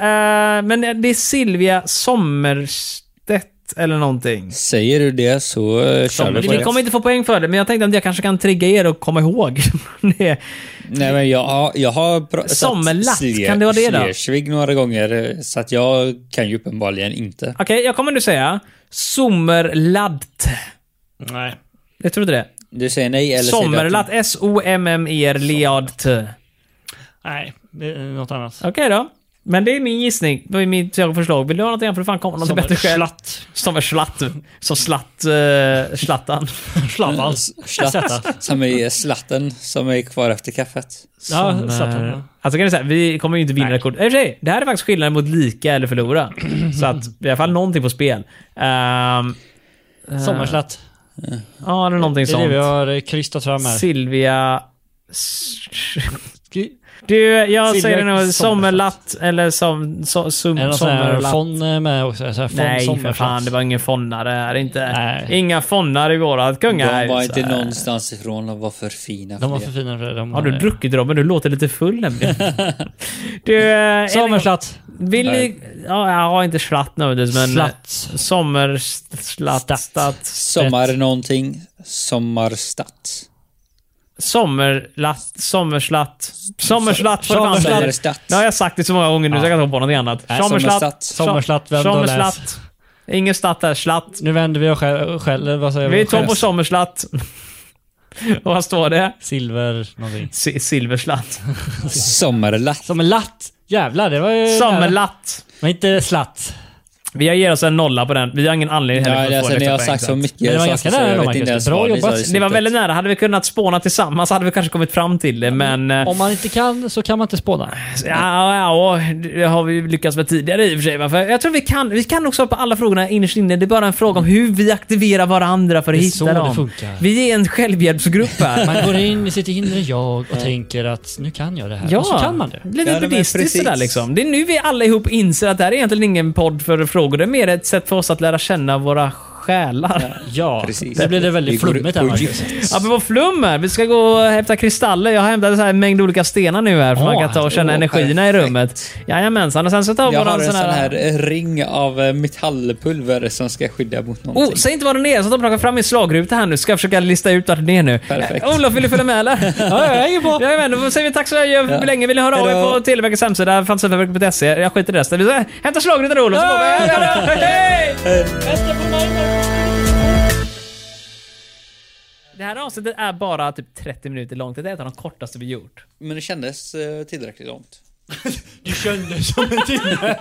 Speaker 1: men det är Silvia Sommerstedt eller någonting.
Speaker 2: Säger du det så eh, kör vi på
Speaker 1: Ni
Speaker 2: det.
Speaker 1: kommer inte få poäng för det, men jag tänkte att jag kanske kan trigga er och komma ihåg. <laughs> Det är-
Speaker 2: Nej, men jag har, jag har pratat
Speaker 1: Sommerlatt, kan det vara det då?
Speaker 2: Schleswig några gånger, eh, så att jag kan ju uppenbarligen inte.
Speaker 1: Okej, jag kommer nu säga Sommerladt.
Speaker 4: Nej.
Speaker 1: Jag tror inte det.
Speaker 2: Du säger nej eller säger du
Speaker 1: Sommerladt.
Speaker 2: att-
Speaker 1: E S-O-M-M-E-R-L-E-A-D-T.
Speaker 4: Nej, det är något annat.
Speaker 1: Okej då. Men det är min gissning. Det är mitt förslag. Vill du ha något igen får du fan komma med något bättre själv.
Speaker 4: Slatt.
Speaker 1: Som en slatt. Som slatt... Uh, slattan.
Speaker 4: <laughs> Slattan.
Speaker 2: Slatt, som är slatten som är kvar efter kaffet.
Speaker 4: Ja,
Speaker 1: Som,
Speaker 4: slattan.
Speaker 1: eh,
Speaker 4: ja.
Speaker 1: Alltså kan du säga, vi kommer ju inte vinna rekord. I och för sig, det här är faktiskt skillnaden mot lika eller
Speaker 4: <clears throat>
Speaker 1: förlora. Så att, i alla fall någonting på spel. Ehm,
Speaker 4: Sommarslatt.
Speaker 1: Ja, eller någonting
Speaker 4: Eh, Det är det
Speaker 1: sånt.
Speaker 4: vi har eh, krystat fram här.
Speaker 1: Silvia... <laughs> Du, jag
Speaker 4: Silvia
Speaker 1: säger nog
Speaker 4: Sommerlatt.
Speaker 1: sommerlatt eller som, so, som,
Speaker 4: Är det någon sån här
Speaker 1: sommerlatt.
Speaker 4: fond eh, med också? Så här fond,
Speaker 1: Nej, för
Speaker 4: sommarslatt.
Speaker 1: fan. Det var ingen fondare här. Inte.
Speaker 4: Nej.
Speaker 1: Inga fondare i vårat
Speaker 2: De
Speaker 1: kungahus.
Speaker 2: var inte någonstans ifrån och var för fina
Speaker 4: De var
Speaker 2: för
Speaker 4: för
Speaker 2: det.
Speaker 4: fina för det. De
Speaker 1: Har du druckit Robin? Du låter lite full nämligen. <laughs> du, eh,
Speaker 4: Sommarslatt.
Speaker 1: vill ni... Ja, jag har inte slatt nödvändigtvis,
Speaker 2: eh,
Speaker 1: men... eh,
Speaker 4: Slatt.
Speaker 1: Sommerslatt...
Speaker 4: Statt.
Speaker 1: Statt.
Speaker 2: Sommar någonting, sommarstatt.
Speaker 1: Sommerlatt... Sommerslatt... Sommerslatt får du fan säga.
Speaker 2: Sommerstatt.
Speaker 1: Nu har jag sagt det så många gånger nu så jag kan ta på något annat.
Speaker 2: Nej,
Speaker 1: Sommerslatt.
Speaker 2: sommerslatt.
Speaker 4: Sommerslatt, vem då
Speaker 1: Sommerslatt. Ingen statt där. Slatt.
Speaker 4: Nu vänder vi oss själv. själv vad säger
Speaker 1: Vi tar
Speaker 4: Själv.
Speaker 1: på Sommerslatt. <laughs> Och vad står det?
Speaker 4: Silver någonting.
Speaker 1: Si- Silverslatt.
Speaker 2: Sommarlatt.
Speaker 4: Som en latt. Jävlar, <laughs> det var ju...
Speaker 1: Sommerlatt.
Speaker 4: Men inte slatt.
Speaker 1: Vi ger oss en nolla på den. Vi har ingen anledning heller
Speaker 2: Ja,
Speaker 1: för att få
Speaker 2: alltså,
Speaker 1: en
Speaker 2: ni
Speaker 1: extra
Speaker 2: har
Speaker 1: poäng,
Speaker 2: sagt
Speaker 1: så att-
Speaker 2: så mycket. saker,
Speaker 4: Men det var ganska
Speaker 2: så
Speaker 4: nära
Speaker 2: jag
Speaker 4: då,
Speaker 2: vet
Speaker 4: Marcus.
Speaker 2: inte ens
Speaker 4: Bra
Speaker 2: vad ni sa
Speaker 4: jobbat.
Speaker 2: i
Speaker 1: Det var
Speaker 2: slutet.
Speaker 1: väldigt nära. Hade vi kunnat spåna tillsammans hade vi kanske kommit fram till det, men... eh,
Speaker 4: Mm. Om man inte kan så kan man inte spåna.
Speaker 1: Ja, ja, det har vi lyckats med tidigare i och för sig. va? För jag tror vi kan, vi kan också svara på alla frågorna innerst inne. Det är bara en fråga om hur vi aktiverar varandra för att
Speaker 4: Det är
Speaker 1: hitta
Speaker 4: så det
Speaker 1: dem.
Speaker 4: funkar.
Speaker 1: Vi är en självhjälpsgrupp
Speaker 4: <laughs>
Speaker 1: här.
Speaker 4: Man går in i sitt inre jag och tänker att nu kan jag det här.
Speaker 1: <laughs> Ja,
Speaker 4: Och så kan man det.
Speaker 1: blir
Speaker 2: Ja,
Speaker 1: lite
Speaker 2: men
Speaker 1: buddhistiskt
Speaker 2: precis.
Speaker 1: sådär liksom. Det är nu vi alla ihop inser att det här är egentligen ingen podd för frågor. Det är mer ett sätt för oss att lära känna våra själar. <laughs>
Speaker 4: Ja,
Speaker 2: Precis.
Speaker 4: det blir det väldigt
Speaker 2: går
Speaker 4: flummigt här
Speaker 2: på
Speaker 4: Marcus.
Speaker 2: djupet.
Speaker 1: Ja, men vad flum är. Vi ska gå och hämta kristaller. Jag hämtade så här en mängd olika stenar nu här, för man
Speaker 4: Åh,
Speaker 1: kan ta och känna
Speaker 2: åh,
Speaker 1: energierna i
Speaker 2: perfekt.
Speaker 1: rummet. Jajamensan. Och sen så tar vi
Speaker 2: Jag
Speaker 1: bara
Speaker 2: har
Speaker 1: en sån här...
Speaker 2: eh, ring av eh, metallpulver som ska skydda mot någonting.
Speaker 1: Oh, säg inte var den är, så att de plockar fram min slagruta här nu. Ska jag försöka lista ut vart den är nu.
Speaker 2: Perfekt.
Speaker 1: Eh, Olof, vill du följa med eller?
Speaker 4: Ja, ja, jag är bra.
Speaker 1: Jajamän, då säger vi tack så ja. länge. Vill ni höra av er
Speaker 2: Hejdå.
Speaker 1: på Televerkets hemsida, fantasifabriken.se. Jag skiter i resten. Vi säger, Hämta slagrutan Olof, så går vi. Hej! Det här avsnittet är bara typ 30 minuter långt. Det är ett av de kortaste vi gjort.
Speaker 2: Men det kändes eh, tillräckligt långt.
Speaker 4: Du kände som en timme.